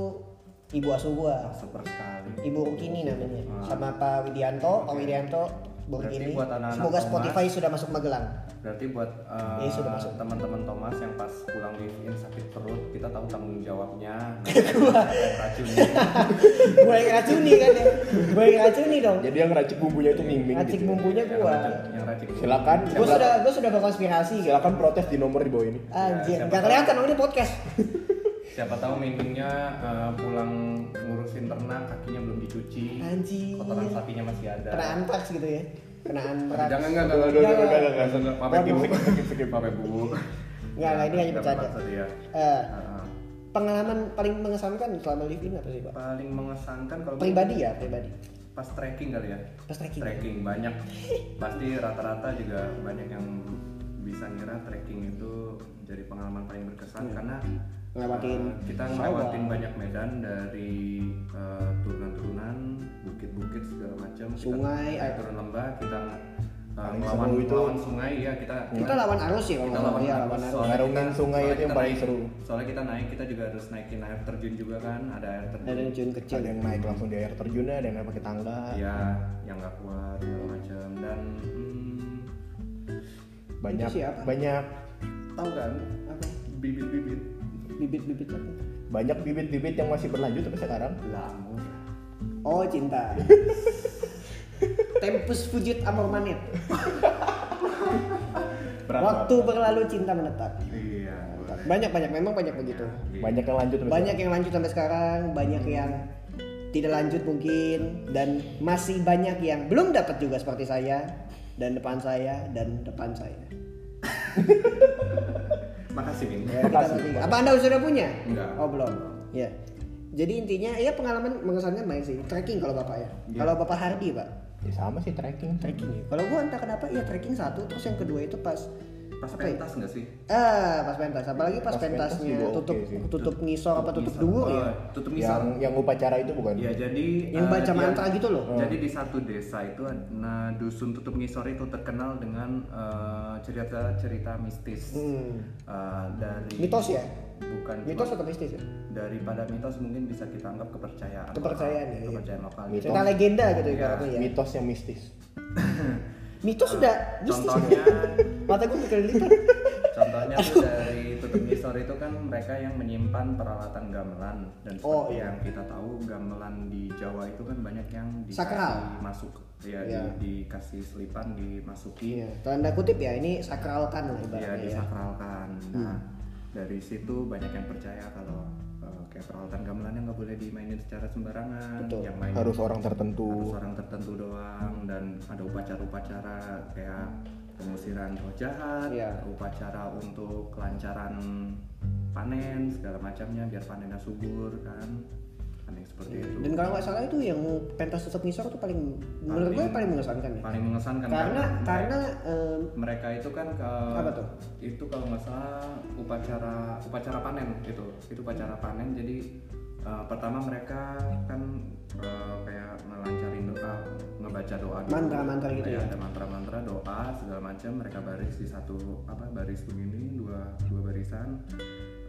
Speaker 1: ibu asuh gua
Speaker 3: super sekali
Speaker 1: Ibu Rukini namanya
Speaker 3: Ah.
Speaker 1: sama Pak Widianto, Pak
Speaker 3: Oke.
Speaker 1: Widianto Bu
Speaker 3: Berarti
Speaker 1: Rukini.
Speaker 3: buat anak-anak
Speaker 1: Semoga
Speaker 3: Thomas.
Speaker 1: Spotify sudah masuk Magelang.
Speaker 3: berarti buat eh,
Speaker 1: Iya, sudah masuk.
Speaker 3: teman-teman Thomas yang pas pulang live in sakit perut kita tahu tanggung jawabnya Nah, racunnya
Speaker 1: gue yang racuni kan ya. Gue yang racuni dong.
Speaker 2: Jadi yang racik bumbunya itu miming
Speaker 1: Racik
Speaker 2: gitu.
Speaker 1: bumbunya
Speaker 3: yang
Speaker 1: gua.
Speaker 3: racun yang racun
Speaker 2: Silakan.
Speaker 1: Gue
Speaker 2: Siapa-
Speaker 1: sudah gue sudah berkonspirasi kan.
Speaker 2: Silakan protes di nomor di bawah ini.
Speaker 1: Anjir,
Speaker 3: Ya, siapa
Speaker 1: enggak
Speaker 3: tahu.
Speaker 1: kelihatan oh, ini podcast.
Speaker 3: siapa tahu mimpinya eh, pulang ngurusin ternak kakinya belum dicuci
Speaker 1: Anjir.
Speaker 3: kotoran sapinya masih ada
Speaker 1: Kena antraks gitu ya. Kena
Speaker 3: jangan
Speaker 1: antraks.
Speaker 3: jangan jangan
Speaker 1: Iya,
Speaker 2: Aduh, aduh, aduh,
Speaker 1: iya.
Speaker 2: enggak, enggak, enggak, enggak.
Speaker 3: Maaf ya,
Speaker 2: Aduh.
Speaker 3: Bu. skip skip Maaf ya, Bu.
Speaker 1: Enggak, enggak, ini hanya
Speaker 3: Nggak
Speaker 1: bercanda.
Speaker 3: bermaksud, ya.
Speaker 1: Eh,
Speaker 3: Ah, ah.
Speaker 1: pengalaman paling mengesankan selama live in apa sih, Pak?
Speaker 3: paling mengesankan kalau
Speaker 1: Pribadi ya, pribadi.
Speaker 3: pas trekking kali ya
Speaker 1: Pas trekking.
Speaker 3: trekking banyak pasti rata-rata juga banyak yang bisa ngira trekking itu jadi pengalaman paling berkesan karena
Speaker 1: Ngelewatin
Speaker 3: eh, kita
Speaker 1: sawah.
Speaker 3: ngelewatin banyak medan dari eh, turunan-turunan bukit-bukit segala macam Kita-
Speaker 1: Sungai,
Speaker 3: eh,
Speaker 1: air.
Speaker 3: turun lembah kita eh,
Speaker 2: Paling
Speaker 3: ngelawan
Speaker 2: seru itu.
Speaker 3: ngelawan sungai ya kita
Speaker 1: Kita lawan arus ya kalau
Speaker 3: kita
Speaker 1: nggak salah.
Speaker 3: lawan
Speaker 1: Iya,
Speaker 3: arus.
Speaker 1: lawan arus.
Speaker 3: Soalnya
Speaker 2: Ngarungin
Speaker 3: kita-
Speaker 2: sungai
Speaker 3: soalnya
Speaker 2: itu yang
Speaker 3: kita
Speaker 2: paling
Speaker 3: naik-
Speaker 2: seru.
Speaker 3: soalnya kita naik kita juga harus naikin air terjun juga kan ada air terjun
Speaker 1: Ada yang cium kecil.
Speaker 2: Ada yang naik langsung di air terjunnya, ada yang naik pakai tangga.
Speaker 3: ya yang nggak kuat segala macam dan hmm,
Speaker 2: Banyak
Speaker 1: Itu siapa?
Speaker 2: banyak
Speaker 3: tahu kan
Speaker 1: Apa?
Speaker 3: bibit-bibit
Speaker 1: Bibit-bibit apa?
Speaker 2: banyak bibit-bibit yang masih berlanjut sampai sekarang.
Speaker 3: lamun
Speaker 1: Oh cinta. Tempus fujit amor manit. Waktu berlalu cinta menetap.
Speaker 3: iya boleh.
Speaker 1: Banyak banyak memang banyak begitu.
Speaker 3: Iya.
Speaker 2: Banyak yang lanjut sampai
Speaker 1: Banyak yang lanjut sampai sekarang, banyak
Speaker 3: Hmm.
Speaker 1: yang tidak lanjut mungkin dan masih banyak yang belum dapat juga seperti saya dan depan saya dan depan saya.
Speaker 3: makasih Bing
Speaker 1: Ya, kita
Speaker 2: Makasih.
Speaker 1: bertiga. Apa Anda sudah punya?
Speaker 3: Enggak.
Speaker 1: Oh, belum. Ya. Jadi intinya ya pengalaman mengesankan banyak sih. Trekking kalau Bapak ya.
Speaker 3: Iya.
Speaker 1: Kalau Bapak Hardi, Pak.
Speaker 2: Ya sama sih trekking.
Speaker 1: Trekking. ya. Kalau gua entah kenapa ya trekking satu terus yang kedua itu pas
Speaker 3: pas
Speaker 1: apa ya?
Speaker 3: pentas nggak sih
Speaker 1: Ah, pas pentas. Apalagi pas,
Speaker 2: Pas pentas
Speaker 1: pentasnya
Speaker 2: juga oke
Speaker 1: tutup
Speaker 2: sih.
Speaker 1: tutup ngisor apa tutup
Speaker 3: Misal-
Speaker 1: duo
Speaker 3: Oh,
Speaker 1: ya.
Speaker 3: tutup misal
Speaker 2: Yang yang upacara itu bukan?
Speaker 3: ya jadi
Speaker 1: Yang
Speaker 3: eh,
Speaker 1: baca
Speaker 3: dia-
Speaker 1: mantra gitu loh.
Speaker 3: jadi di satu desa itu ad- nah dusun tutup ngisor itu terkenal dengan eh, cerita-cerita mistis
Speaker 1: Hmm.
Speaker 3: Eh, dari
Speaker 1: Mitos ya?
Speaker 3: bukan cuma-
Speaker 1: Mitos atau mistis ya?
Speaker 3: daripada mitos mungkin bisa kita anggap kepercayaan
Speaker 1: Kepercayaan,
Speaker 3: lokal,
Speaker 1: ya, iya.
Speaker 3: kepercayaan lokal Iya.
Speaker 2: Mitos.
Speaker 1: Cerita legenda gitu ibaratnya ya.
Speaker 2: Mitos yang mistis.
Speaker 1: Mitos sudah mistis.
Speaker 3: contohnya
Speaker 1: Mata gue berkelipat.
Speaker 3: contohnya tuh dari tutup misor itu kan mereka yang menyimpan peralatan gamelan dan
Speaker 1: Oh,
Speaker 3: seperti
Speaker 1: iya.
Speaker 3: yang kita tahu gamelan di Jawa itu kan banyak yang dikasih
Speaker 1: Sakral.
Speaker 3: masuk ya
Speaker 1: Iya.
Speaker 3: di- dikasih selipan dimasuki
Speaker 1: Iya, tanda kutip ya ini sakralkan lah
Speaker 3: ya
Speaker 1: ibaratnya ya.
Speaker 3: disakralkan
Speaker 1: Hmm.
Speaker 3: nah dari situ banyak yang percaya kalau eh, kayak peralatan gamelan yang nggak boleh dimainin secara sembarangan
Speaker 1: Betul.
Speaker 3: yang main
Speaker 2: Harus orang
Speaker 3: harus
Speaker 2: tertentu.
Speaker 3: orang tertentu doang dan ada upacara-upacara kayak pengusiran roh jahat,
Speaker 1: Iya.
Speaker 3: upacara untuk kelancaran panen segala macamnya biar panennya subur kan, aneh seperti itu.
Speaker 1: Dan kalau nggak salah itu yang pentas tutup ngisor itu paling menurut gue paling mengesankan ya.
Speaker 3: Paling mengesankan kan?
Speaker 1: Karena karena em,
Speaker 3: mereka itu kan ke
Speaker 1: Apa tuh?
Speaker 3: itu kalau nggak salah upacara upacara panen itu itu upacara panen jadi eh, pertama mereka kan eh, kayak ngelancarin doa ngebaca doa dulu.
Speaker 1: Mantra-mantra gitu
Speaker 3: Kayak
Speaker 1: ya?
Speaker 3: ada mantra-mantra doa segala macam mereka baris di satu apa baris begini dua dua barisan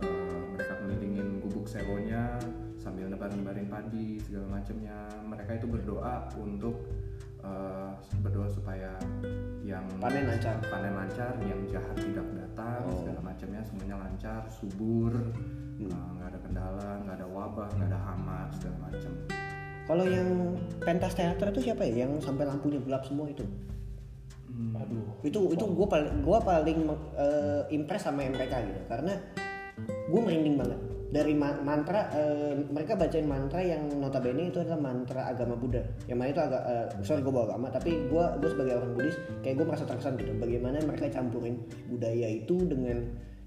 Speaker 3: Eh, mereka ngelilingin gubuk sewonya sambil nebar-nebarin padi segala macamnya mereka itu berdoa untuk eh, eh, berdoa supaya yang
Speaker 1: Panen lancar.
Speaker 3: panen lancar, yang jahat tidak datang,
Speaker 1: Oh. Hmm.
Speaker 3: segala macamnya semuanya lancar, subur, eh, nggak ada kendala, nggak ada wabah, nggak ada hama, segala macam.
Speaker 1: Kalau yang pentas teater itu siapa ya? Yang sampai lampunya gelap semua itu?
Speaker 3: Hmm,
Speaker 2: aduh
Speaker 1: itu itu gue paling gua paling eh, impress sama MPK gitu karena gue merinding banget dari ma- mantra eh, mereka bacain mantra yang notabene itu adalah mantra agama Buddha yang mana itu agak eh, sorry gue bawa agama tapi gue gue sebagai orang Buddhis kayak gue merasa terkesan gitu bagaimana mereka campurin budaya itu dengan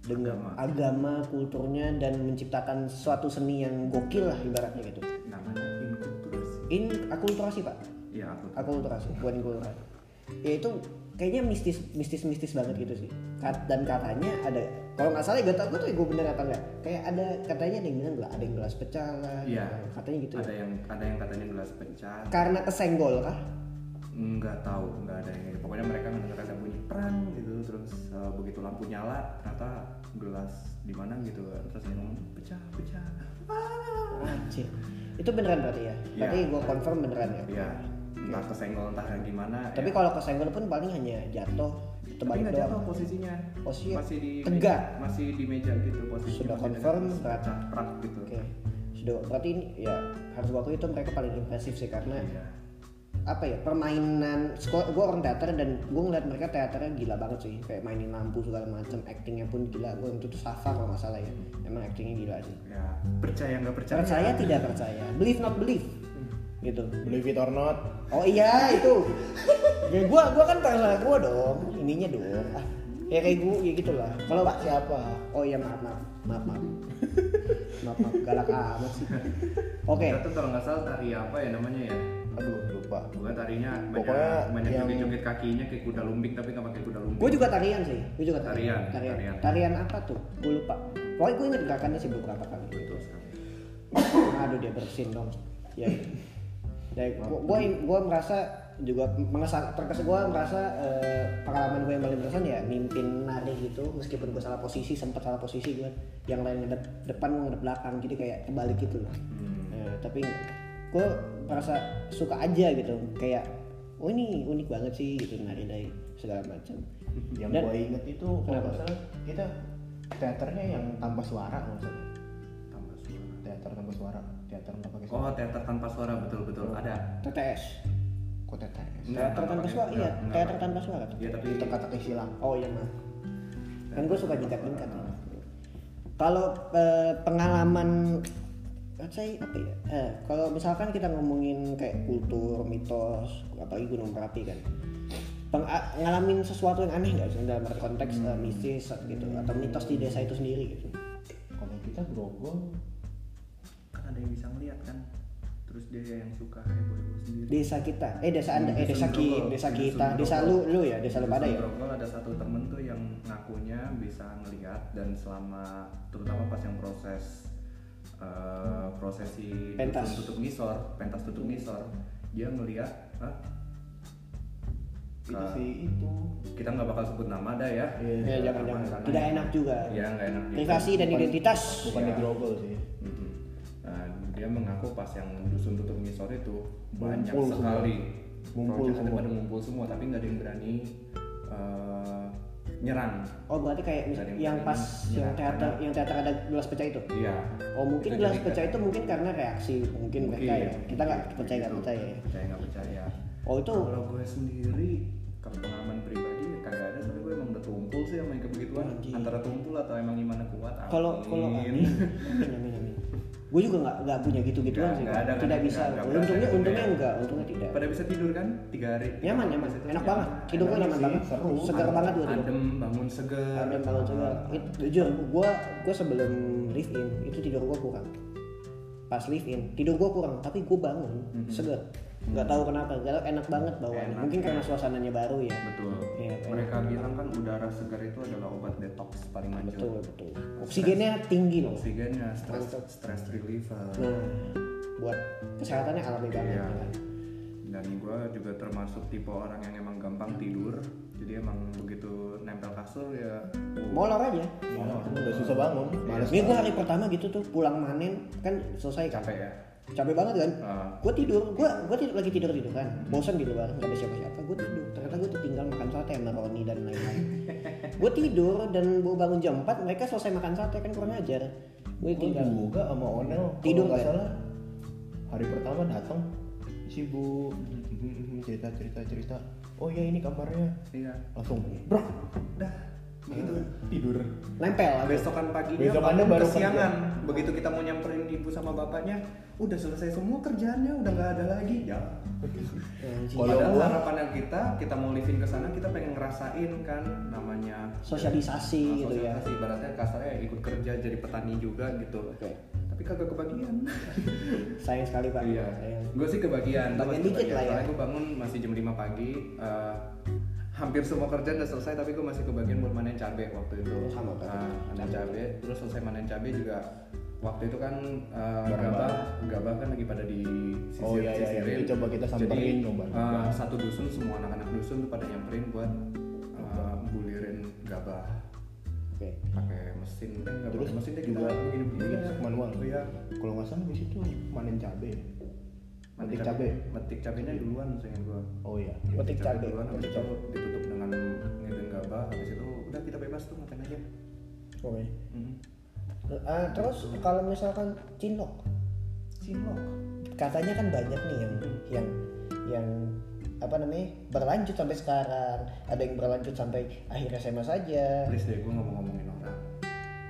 Speaker 1: dengan agama kulturnya dan menciptakan suatu seni yang gokil lah ibaratnya gitu
Speaker 3: namanya inkulturasi.
Speaker 1: in akulturasi pak
Speaker 3: Iya aku.
Speaker 1: akulturasi bukan akulturasi ya itu kayaknya mistis mistis mistis banget gitu sih Kat- dan katanya ada kalau nggak salah ya, gak tau gue tuh gue bener apa enggak kayak ada katanya ada yang bilang gela- ada yang gelas pecah lah
Speaker 3: Iya.
Speaker 1: katanya gitu ya.
Speaker 3: Ada yang ada yang katanya gelas pecah,
Speaker 1: karena kesenggol kah
Speaker 3: nggak tahu nggak ada yang pokoknya mereka mendengar ada bunyi perang gitu terus eh, begitu lampu nyala ternyata gelas di mana gitu kan terus dia ngomong pecah pecah ah.
Speaker 1: anjir itu beneran berarti ya berarti
Speaker 3: Iya.
Speaker 1: gue confirm beneran ya
Speaker 3: ya entah kesenggol entah yang gimana
Speaker 1: tapi
Speaker 3: ya.
Speaker 1: kalau kesenggol pun paling hanya jatuh
Speaker 3: tapi
Speaker 1: terbalik
Speaker 3: nggak jatuh
Speaker 1: doang
Speaker 3: posisinya
Speaker 1: Posisinya
Speaker 3: masih di
Speaker 1: Oh, tegak.
Speaker 3: meja, masih di meja gitu posisinya
Speaker 1: Sudah
Speaker 3: masih
Speaker 1: confirm,
Speaker 3: dengan
Speaker 1: berat.
Speaker 3: pecah prak gitu
Speaker 1: oke sudah berarti ini ya harus waktu itu mereka paling impresif sih karena
Speaker 3: Iya.
Speaker 1: apa ya permainan gue orang teater dan gue ngeliat mereka teaternya gila banget sih kayak mainin lampu segala macam actingnya pun gila gue itu tuh Safa kalau nggak salah ya emang actingnya gila sih
Speaker 3: ya percaya nggak percaya
Speaker 1: percaya tidak percaya believe not believe gitu
Speaker 2: believe it or not
Speaker 1: oh iya itu ya gue gua kan percaya gue dong ininya dong ah, ya kayak gue ya gitulah kalau pak
Speaker 2: siapa
Speaker 1: oh iya maaf maaf maaf maaf maaf, maaf galak amat sih oke
Speaker 3: Kita tuh kalau nggak salah tari apa ya namanya ya
Speaker 2: aduh lupa
Speaker 3: Pokoknya tarinya
Speaker 2: Pokoknya
Speaker 3: banyak, banyak
Speaker 2: yang-
Speaker 3: joget-joget kakinya kayak kuda lumbing tapi nggak pakai kuda lumbing
Speaker 1: Gue juga tarian sih, gue juga tarian.
Speaker 3: Tarian,
Speaker 1: Tarian.
Speaker 3: tarian.
Speaker 1: Tarian, apa tuh? Gue lupa. Pokoknya gue inget gerakannya sih beberapa kali.
Speaker 3: betul sekali
Speaker 1: Aduh dia bersin dong. Ya. Ya, gue gue merasa juga mengesan terkesan gue merasa eh, pengalaman gue yang paling berkesan ya mimpin nari gitu meskipun gue salah posisi sempat salah posisi gue yang lain ngedep depan gue ngedep belakang jadi kayak kebalik gitu loh Nah, tapi gue merasa suka aja gitu kayak oh ini unik banget sih gitu nari nari segala macam
Speaker 2: yang
Speaker 1: Dan-
Speaker 2: gue inget itu kalau
Speaker 1: Kenapa?
Speaker 2: nggak salah kita teaternya yang tanpa suara kalau nggak salah
Speaker 3: tambah suara
Speaker 2: teater tanpa suara teater nggak pakai suara
Speaker 3: Oh, teater tanpa suara betul-betul ada.
Speaker 1: TTS
Speaker 2: kok teater ya?
Speaker 3: Enggak,
Speaker 1: Teater tanpa
Speaker 3: pakai-
Speaker 1: suara, iya.
Speaker 3: enggak, enggak.
Speaker 1: Teater tanpa suara.
Speaker 3: Iya, tapi
Speaker 2: itu kata silang
Speaker 1: Oh iya maaf. Kan gue suka jingkat-jingkat. Kalau eh, pengalaman saya apa ya? Eh, kalau misalkan kita ngomongin kayak kultur, mitos, apalagi Gunung Merapi kan. Peng- a- ngalamin sesuatu yang aneh nggak sih dalam arti konteks eh, mistis gitu atau mitos di desa itu sendiri gitu.
Speaker 2: kalau kita grogol
Speaker 3: kan ada yang bisa ngeliat kan. Terus dia yang suka heboh-heboh sendiri.
Speaker 1: Desa kita, eh desa Anda, eh
Speaker 3: Di
Speaker 1: desa ki,
Speaker 3: Sundrogol.
Speaker 1: desa
Speaker 3: Di
Speaker 1: kita, desa lu,
Speaker 3: Sundrogol.
Speaker 1: lu ya, desa lu pada ya.
Speaker 3: Grogol ada satu temen tuh yang ngakunya bisa ngeliat dan selama terutama pas yang proses eh, prosesi
Speaker 1: Pentas.
Speaker 3: dukun tutup ngisor, pentas tutup ngisor, dia ngeliat "Hah?
Speaker 2: itu
Speaker 3: Ah.
Speaker 2: sih itu
Speaker 3: kita nggak bakal sebut nama dah ya.
Speaker 1: Ya
Speaker 2: Iya,
Speaker 1: jangan-jangan. Tidak enak juga.
Speaker 3: Ya nggak enak. juga.
Speaker 1: Privasi dan
Speaker 2: Bukan-
Speaker 1: identitas.
Speaker 2: bukan di
Speaker 3: Iya.
Speaker 2: grogol sih
Speaker 3: Mhm. Nah, dia mengaku pas yang dusun tutup ngisor itu banyak
Speaker 2: Ngumpul
Speaker 3: sekali
Speaker 2: semua. Ngumpul
Speaker 3: Proyek itu
Speaker 2: semua.
Speaker 3: pada ngumpul semua tapi nggak ada yang berani eh, nyerang
Speaker 1: Oh berarti kayak mis-
Speaker 3: Dari
Speaker 1: yang
Speaker 3: mungkin
Speaker 1: pas
Speaker 3: ini,
Speaker 1: yang
Speaker 3: ya,
Speaker 1: teater
Speaker 3: karena-
Speaker 1: yang teater ada gelas pecah itu.
Speaker 3: iya
Speaker 1: Oh mungkin
Speaker 3: Itu
Speaker 1: gelas
Speaker 3: jadi
Speaker 1: pecah
Speaker 3: kayak-
Speaker 1: itu mungkin karena reaksi mungkin mereka ya. Kita nggak percaya nggak
Speaker 3: Gitu.
Speaker 1: percaya. ya.
Speaker 3: percaya nggak percaya
Speaker 1: Oh itu
Speaker 3: kalau gue sendiri kalau pengalaman pribadi ya kagak ada tapi gue emang udah tumpul sih sama yang kebegituan
Speaker 1: Anjing.
Speaker 3: antara tumpul atau emang gimana kuat
Speaker 1: kalau kalau amin amin amin amin. Gue juga nggak nggak punya gitu gituan
Speaker 3: Nggak,
Speaker 1: sih.
Speaker 3: nggak ada, nggak
Speaker 1: tidak
Speaker 3: ada,
Speaker 1: bisa.
Speaker 3: nggak, nggak
Speaker 1: untungnya
Speaker 3: berani.
Speaker 1: untungnya enggak untungnya tidak.
Speaker 3: pada bisa tidur kan tiga hari tiga
Speaker 1: Nyaman
Speaker 3: malam
Speaker 1: nyaman
Speaker 3: di situ,
Speaker 1: enak banget. Tidur gue
Speaker 2: Enak
Speaker 1: nyaman
Speaker 2: sih,
Speaker 1: banget.
Speaker 2: seru.
Speaker 1: Segar banget gue tidur.
Speaker 3: adem bangun Iya, seger
Speaker 1: Adem banget juga. It, Nah, jujur gue gue sebelum live in itu tidur gue kurang. Pas live in tidur gue kurang tapi gue bangun seger. Nggak tahu kenapa, nggak tahu enak banget bawaannya.
Speaker 3: Enak,
Speaker 1: Mungkin karena suasananya baru ya.
Speaker 3: betul
Speaker 1: Iya,
Speaker 3: mereka bilang kan udara segar itu adalah obat detox paling
Speaker 1: betul
Speaker 3: manjur
Speaker 1: betul oksigennya tinggi loh
Speaker 3: oksigennya stress stress reliever
Speaker 1: nah buat kesehatannya alami banget
Speaker 3: Iya.
Speaker 1: ya kan?
Speaker 3: dan gue juga termasuk tipe orang yang emang gampang tidur jadi emang begitu nempel kasur ya
Speaker 1: molor aja
Speaker 2: Malah, udah susah bangun males
Speaker 1: Iya, ini gue hari pertama gitu tuh pulang manen kan selesai kan
Speaker 3: capek ya
Speaker 1: capek banget kan
Speaker 3: Ah.
Speaker 1: gue tidur gue gue tidur lagi tidur tiduran bosan di luar nggak ada siapa siapa gue tidur ternyata gue tertinggal makan sate sama Roni dan lain-lain gue tidur dan gue bangun jam 4 mereka selesai makan sate kan kurang ajar gue
Speaker 2: Gue
Speaker 1: tinggal
Speaker 2: juga sama Onel kalau
Speaker 1: Tidur
Speaker 2: nggak
Speaker 1: kan?
Speaker 2: salah hari pertama datang sibuk cerita cerita cerita oh ya ini kamarnya
Speaker 3: iya
Speaker 2: langsung bro
Speaker 3: dah gitu
Speaker 2: tidur
Speaker 1: nempel lah
Speaker 3: besokan paginya
Speaker 2: Besokannya
Speaker 3: bangun
Speaker 2: baru
Speaker 3: kesiangan begitu kita mau nyamperin ibu sama bapaknya udah selesai semua kerjaannya udah nggak ada lagi ya
Speaker 2: Kalau
Speaker 3: Padahal
Speaker 2: gua-
Speaker 3: harapannya kita kita mau living ke sana kita pengen ngerasain kan namanya
Speaker 1: sosialisasi gitu ya
Speaker 3: Oh, sosialisasi ibaratnya kasarnya ikut kerja jadi petani juga gitu
Speaker 1: Oke.
Speaker 3: tapi kagak kebagian
Speaker 1: sayang sekali pak
Speaker 3: iya
Speaker 1: Sayang.
Speaker 3: gue sih kebagian
Speaker 1: Bagian
Speaker 3: gua pasti
Speaker 1: dikit
Speaker 3: kebagian.
Speaker 1: lah ya.
Speaker 3: Soalnya gue bangun masih jam 5 pagi eh, hampir semua kerjaan udah selesai tapi gue masih kebagian buat manen cabe waktu itu
Speaker 2: Oh,
Speaker 1: Sama, Pak.
Speaker 3: Ah, manen cabe terus selesai manen cabe juga waktu itu kan eh,
Speaker 2: Bareng
Speaker 3: gabah gabah kan lagi pada di sisir
Speaker 2: Oh, iya, iya. Itu coba kita
Speaker 3: jadi
Speaker 2: samperin, coba.
Speaker 3: eh, satu dusun semua anak-anak dusun tuh pada nyamperin buat eh, bulirin gabah
Speaker 1: oke
Speaker 3: pakai mesin kan nggak
Speaker 2: terus
Speaker 3: pakai mesin deh
Speaker 2: juga
Speaker 3: begini begini
Speaker 2: manual
Speaker 3: iya
Speaker 2: kalau nggak salah di situ manen cabe
Speaker 3: Metik cabe.
Speaker 2: Metik cabe.
Speaker 3: kan Metik cabenya duluan seingat gua.
Speaker 2: oh iya
Speaker 1: Metik cabe.
Speaker 3: duluan habis
Speaker 1: Metik
Speaker 3: itu ditutup dengan ngeden gabah, habis itu udah kita bebas tuh ngatain aja.
Speaker 1: oke
Speaker 3: Mm.
Speaker 1: Ah, terus kalau misalkan cinlok
Speaker 3: Cinlok.
Speaker 1: katanya kan banyak nih yang yang yang apa namanya berlanjut sampai sekarang ada yang berlanjut sampai akhir SMA saja
Speaker 3: Please deh gua nggak mau ngomongin orang.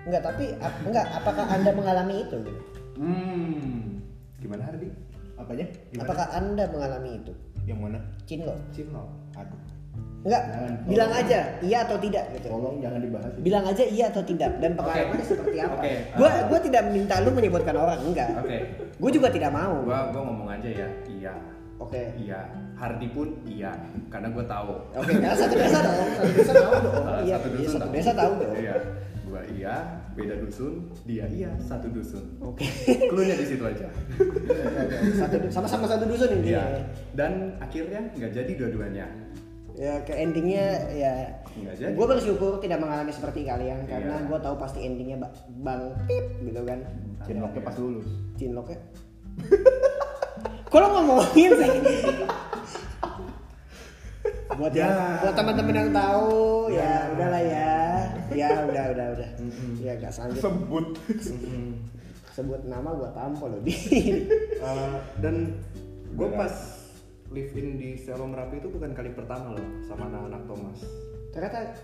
Speaker 1: enggak tapi ap- enggak apakah anda mengalami itu gitu?
Speaker 3: Hmm. Gimana Hardi?
Speaker 2: apanya
Speaker 1: apakah anda mengalami itu
Speaker 2: yang mana
Speaker 1: cinlok
Speaker 3: Cinlok.
Speaker 2: aduh
Speaker 1: enggak
Speaker 2: Jangan.
Speaker 1: bilang aja iya atau tidak gitu
Speaker 2: tolong jangan dibahas itu.
Speaker 1: bilang aja iya atau tidak dan pengalamannya seperti apa
Speaker 3: Oke.
Speaker 1: gua gua tidak minta lu menyebutkan orang enggak
Speaker 3: Oke.
Speaker 1: gua juga tidak mau oke
Speaker 3: Gua gua ngomong aja ya. Iya. Iya. Hardi pun iya, karena gua tahu.
Speaker 1: oke karena satu desa tahu satu desa tahu dong
Speaker 3: Salah
Speaker 1: iya
Speaker 3: Ah, satu
Speaker 1: iya,
Speaker 3: dusun
Speaker 1: satu desa tahu dong
Speaker 3: Iya. Gua iya, beda dusun, dia iya, satu dusun.
Speaker 1: oke
Speaker 3: Cluenya di situ aja.
Speaker 1: satu sama-sama satu dusun ini
Speaker 3: Iya. Dan akhirnya nggak jadi dua-duanya.
Speaker 1: ya ke endingnya ya
Speaker 3: Nggak jadi.
Speaker 1: gue bersyukur tidak mengalami seperti kalian karena
Speaker 3: Iya.
Speaker 1: gue tahu pasti endingnya ba- bang pip gitu kan
Speaker 2: cinloknya pas lulus
Speaker 1: cinloknya kalau ngomongin sih buat ya buat teman-teman yang tahu ya udahlah ya ya udah udah udah ya gak sanggup
Speaker 2: sebut
Speaker 3: Mm-hmm.
Speaker 1: sebut nama gue tampol loh di
Speaker 3: Eh, dan gue pas live in di Selom Merapi itu bukan kali pertama loh sama anak-anak Thomas.
Speaker 1: ternyata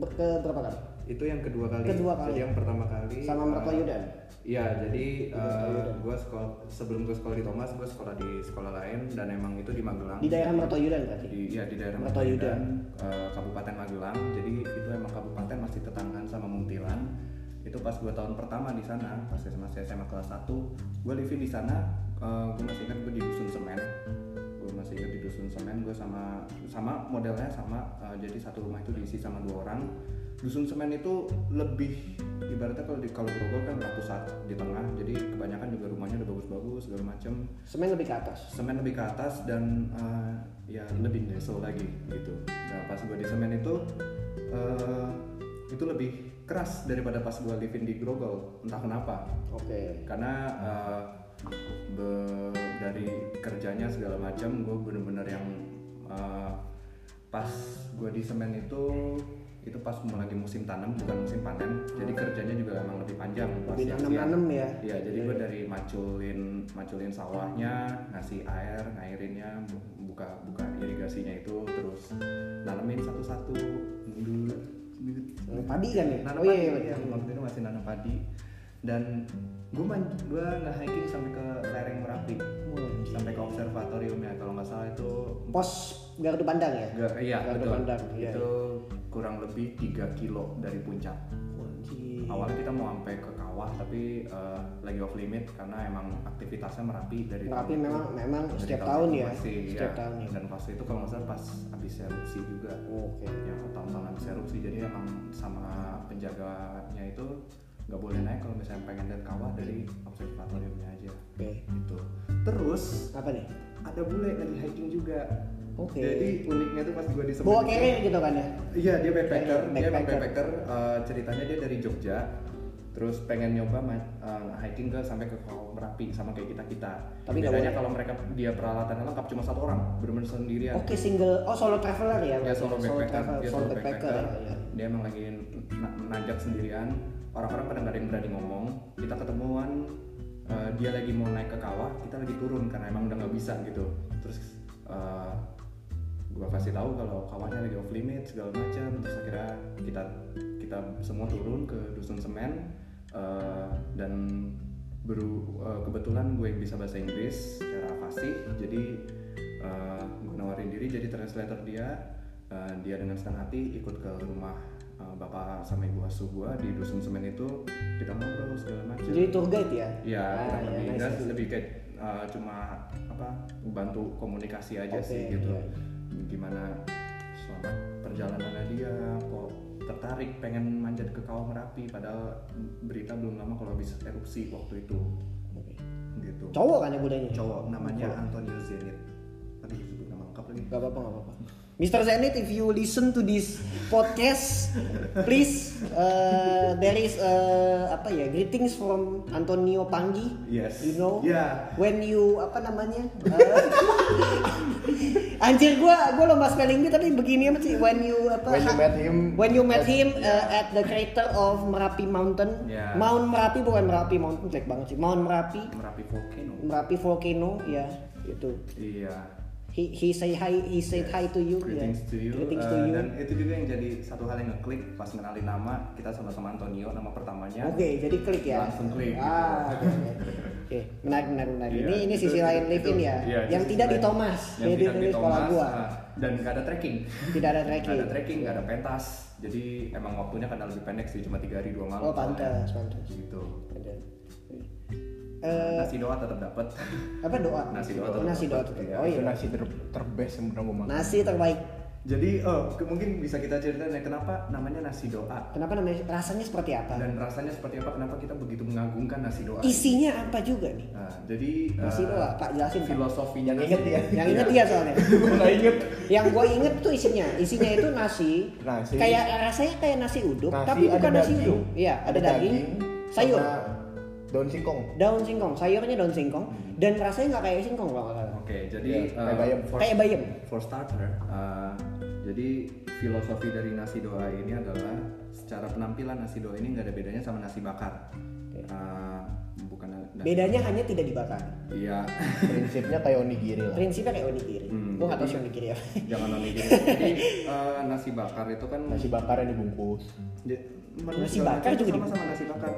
Speaker 1: ber- ke berapa kali
Speaker 3: Itu yang kedua kali.
Speaker 1: Kedua kali.
Speaker 3: Jadi yang pertama kali.
Speaker 1: sama
Speaker 3: eh,
Speaker 1: mertua Yudan
Speaker 3: Iya, jadi
Speaker 1: Mertua Yudan.
Speaker 3: gue sekolah sebelum gue sekolah di Thomas, gue sekolah di sekolah lain dan emang itu di Magelang.
Speaker 1: di daerah mertua Yudan berarti
Speaker 3: di ya di daerah
Speaker 1: Mertua Yudan.
Speaker 3: eh, Kabupaten Magelang jadi itu emang kabupaten masih tetanggaan sama Muntilan itu pas gue tahun pertama di sana pas SMA masih SMA kelas 1 gue living di sana gue masih ingat gue di dusun semen gue masih ingat di dusun semen gue sama sama modelnya sama eh, jadi satu rumah itu diisi sama dua orang dusun semen itu lebih ibaratnya kalau di kalau Grogol kan ratusan di tengah jadi kebanyakan juga rumahnya udah bagus-bagus segala macem
Speaker 1: semen lebih ke atas
Speaker 3: semen lebih ke atas dan eh, ya lebih nesel lagi gitu. Nah pas gue di semen itu eh, itu lebih keras daripada pas gue living di Grogol entah kenapa
Speaker 1: oke
Speaker 3: karena eh, be- dari kerjanya segala macam gue bener-bener yang eh, pas gue di semen itu itu pas mau lagi musim tanam bukan musim panen jadi kerjanya juga emang lebih panjang pas
Speaker 1: Lebih
Speaker 3: siang-siang.
Speaker 1: tanam-tanam ya?
Speaker 3: iya jadi gue dari maculin maculin sawahnya ngasih air ngairinnya bu- buka buka irigasinya itu terus nanamin satu-satu
Speaker 1: Eh, padi kan ya?
Speaker 3: nanam
Speaker 1: Oh iya, iya,
Speaker 3: padi,
Speaker 1: iya.
Speaker 3: iya. waktu itu masih nanam padi dan gue man gue hiking sampai ke lereng merapi
Speaker 1: Wih.
Speaker 3: sampai ke observatorium ya kalau nggak salah itu
Speaker 1: Pos Gardu Pandang ya?
Speaker 3: Nggak, iya
Speaker 1: Gardu
Speaker 3: betul
Speaker 1: Pandang, iya.
Speaker 3: itu kurang lebih 3 kilo dari puncak
Speaker 1: Wajib.
Speaker 3: awalnya kita mau sampai ke kawah tapi eh, lagi off limit karena emang aktivitasnya merapi dari
Speaker 1: Merapi
Speaker 3: tahun-
Speaker 1: memang- memang
Speaker 3: dari
Speaker 1: setiap tahun
Speaker 3: itu
Speaker 1: ya,
Speaker 3: masih,
Speaker 1: setiap
Speaker 3: ya.
Speaker 1: tahun ya.
Speaker 3: dan pas itu kalau nggak salah pas habis erupsi juga
Speaker 1: Oke.
Speaker 3: ya tahun-tahun habis erupsi jadi emang sama penjaganya itu nggak boleh naik kalau misalnya pengen lihat kawah dari observatoriumnya aja
Speaker 1: Oke.
Speaker 3: gitu terus
Speaker 1: Apa nih?
Speaker 3: ada bule dari hiking juga
Speaker 1: Oke.
Speaker 3: jadi uniknya tuh pas gue di
Speaker 1: Bawa
Speaker 3: Semeru-
Speaker 1: carrier gitu kan ya?
Speaker 3: Iya dia Iya, backpacker, dia emang
Speaker 1: Backpacker.
Speaker 3: backpacker. Eh, ceritanya dia dari Jogja. terus pengen nyoba ma- eh, hiking ke sampai ke kolom merapi sama kayak kita kita
Speaker 1: Tapi nggak
Speaker 3: bedanya
Speaker 1: boleh.
Speaker 3: kalau mereka dia peralatannya lengkap cuma satu orang bener-bener sendirian
Speaker 1: Oke single, oh solo traveler ya?
Speaker 3: dia Iya, solo backpacker
Speaker 1: travel-
Speaker 3: dia
Speaker 1: solo backpacker. ya.
Speaker 3: dia emang lagi na- nanjak sendirian orang-orang pada nggak ada yang berani ngomong kita ketemuan eh, dia lagi mau naik ke kawah kita lagi turun karena emang udah nggak bisa gitu terus eh, gua kasih tahu kalau kawahnya lagi off limit segala macam terus akhirnya kita kita semua turun ke dusun semen eh, dan baru eh, kebetulan gue bisa bahasa Inggris secara fasih jadi eh, gue nawarin diri jadi translator dia Uh, dia dengan senang hati ikut ke rumah uh, bapak sama ibu asuh gua di dusun semen itu kita ngobrol segala macam
Speaker 1: Jadi tour guide ya?
Speaker 3: ya
Speaker 1: Ah,
Speaker 3: kurang lebih
Speaker 1: nice,
Speaker 3: Dan
Speaker 1: nice.
Speaker 3: lebih kayak uh, cuma apa bantu komunikasi aja
Speaker 1: Oke,
Speaker 3: sih gitu
Speaker 1: iya.
Speaker 3: gimana selama perjalanan dia kok tertarik pengen manjat ke kawah merapi padahal berita belum lama kalau habis erupsi waktu itu
Speaker 1: Oke.
Speaker 3: gitu
Speaker 1: Cowok kan ya budanya?
Speaker 3: cowok namanya Antonio Zenit tadi disebut nama lengkap lagi
Speaker 1: Gak apa-apa, gak apa-apa. Mr. Zenit, if you listen to this podcast, please uh, there is uh, apa ya greetings from Antonio Panggi.
Speaker 3: Yes.
Speaker 1: You know.
Speaker 3: Yeah.
Speaker 1: When you apa namanya? uh, anjir gua gua lomba spelling dia tapi begini amat sih. When you apa?
Speaker 2: When you met him.
Speaker 1: When you met him uh, at the crater of Merapi Mountain.
Speaker 3: Yeah.
Speaker 1: Mount Merapi bukan Merapi Mountain, jelek banget sih. Mount Merapi,
Speaker 3: merapi volcano
Speaker 1: Merapi volcano ya itu.
Speaker 3: iya
Speaker 1: He he say hi, he said hi to you.
Speaker 3: Greetings
Speaker 1: ya.
Speaker 3: to you.
Speaker 1: Greetings
Speaker 3: Eh,
Speaker 1: to you.
Speaker 3: Dan itu juga yang jadi satu hal yang ngeklik pas kenalin nama kita sama-sama Antonio nama pertamanya.
Speaker 1: Oke, jadi klik ya.
Speaker 3: Langsung klik, gitu.
Speaker 1: Ah, oke. oke. Oke, menarik, menarik, menarik. nah, Ini
Speaker 3: Iya,
Speaker 1: ini
Speaker 3: itu-
Speaker 1: sisi
Speaker 3: itu-
Speaker 1: lain
Speaker 3: itu-
Speaker 1: live in ya.
Speaker 3: iya, itu
Speaker 1: yang
Speaker 3: sisi
Speaker 1: tidak di
Speaker 3: lain.
Speaker 1: Thomas.
Speaker 3: Yang
Speaker 1: Jadi
Speaker 3: tidak di
Speaker 1: ini sekolah
Speaker 3: Thomas,
Speaker 1: gua.
Speaker 3: ah, dan nggak ada trekking.
Speaker 1: Tidak ada
Speaker 3: Nggak
Speaker 1: tracking.
Speaker 3: ada trekking, nggak ada pentas. Jadi emang waktunya kadang lebih pendek sih, cuma tiga hari dua
Speaker 1: Oh,
Speaker 3: malam.
Speaker 1: pantas, pantas.
Speaker 3: Gitu.
Speaker 1: Ada. Eh,
Speaker 3: Nasi doa tetap dapat.
Speaker 1: apa doa?
Speaker 3: Nasi doa tetap
Speaker 1: Nasi doa.
Speaker 3: dapat,
Speaker 1: tetap.
Speaker 3: iya.
Speaker 1: Oh iya.
Speaker 2: Itu nasi ter terbest yang pernah gue makan.
Speaker 1: Nasi terbaik.
Speaker 3: Jadi, oh, ke- mungkin bisa kita ceritain ya kenapa namanya nasi doa
Speaker 1: Kenapa namanya? Rasanya seperti apa?
Speaker 3: dan rasanya seperti apa? Kenapa kita begitu mengagungkan nasi doa?
Speaker 1: Isinya apa juga nih?
Speaker 3: Nah, jadi
Speaker 1: Nasi
Speaker 3: eh,
Speaker 1: doa, Pak jelasin. Pak.
Speaker 3: filosofinya
Speaker 2: Yang
Speaker 3: nasi-
Speaker 2: inget ya.
Speaker 1: Yang
Speaker 3: Iya.
Speaker 1: inget dia soalnya.
Speaker 2: Pernah inget.
Speaker 1: Yang gue inget tuh isinya, isinya itu nasi,
Speaker 2: Nasi.
Speaker 1: kayak rasanya kayak nasi uduk,
Speaker 2: Nasi,
Speaker 1: tapi bukan
Speaker 2: ada
Speaker 1: nasi
Speaker 2: daging.
Speaker 1: uduk. Iya, ada, daging, sayur,
Speaker 2: sama daun singkong.
Speaker 1: daun singkong, sayurnya daun singkong, dan rasanya nggak kayak singkong kalau nggak salah.
Speaker 3: Oke, jadi
Speaker 2: Iya, kayak
Speaker 3: uh,
Speaker 2: bayam.
Speaker 3: for,
Speaker 1: ya. Kayak bayam.
Speaker 3: for starter, uh, jadi filosofi dari nasi doa ini adalah secara penampilan nasi doa ini nggak ada bedanya sama nasi bakar. Uh, bukan nasi,
Speaker 1: Bedanya hanya tidak dibakar.
Speaker 3: Iya,
Speaker 2: Prinsipnya kayak onigiri lah.
Speaker 1: Prinsipnya kayak onigiri.
Speaker 3: Hmm,
Speaker 1: Gue nggak tahu
Speaker 3: jadi-
Speaker 1: sih onigiri apa.
Speaker 3: jangan onigiri. Jadi uh, nasi bakar itu kan
Speaker 2: Nasi bakar yang dibungkus.
Speaker 3: Dia-
Speaker 1: Nasi
Speaker 3: segala
Speaker 1: bakar
Speaker 3: macam
Speaker 1: juga
Speaker 3: sama sama nasi bakar.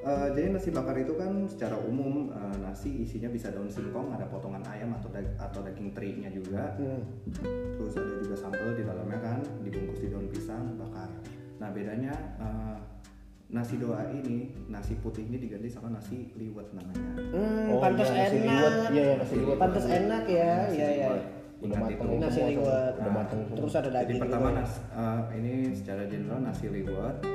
Speaker 3: Eh, jadi nasi bakar itu kan secara umum eh, nasi isinya bisa daun singkong, ada potongan ayam atau dag- atau daging terinya juga. Terus ada juga sambal di dalamnya kan, dibungkus di daun pisang, bakar. Nah bedanya eh, nasi doa ini nasi putihnya diganti sama nasi liwet namanya.
Speaker 1: Hmm,
Speaker 2: Oh,
Speaker 1: pantas
Speaker 2: iya, nasi
Speaker 1: enak.
Speaker 2: liwet. Iya, iya, nasi liwet.
Speaker 1: Pantas enak ya,
Speaker 3: Nasi
Speaker 1: iya iya.
Speaker 3: liwet.
Speaker 2: Udah
Speaker 3: Ingat
Speaker 2: mateng.
Speaker 3: itu.
Speaker 2: Nah,
Speaker 1: Nasi
Speaker 2: Semua, semua.
Speaker 1: liwet.
Speaker 2: Udah mateng semua.
Speaker 1: Terus ada
Speaker 3: Jadi
Speaker 1: daging.
Speaker 3: pertama
Speaker 1: juga.
Speaker 3: nas- eh, ini secara general nasi liwet eh,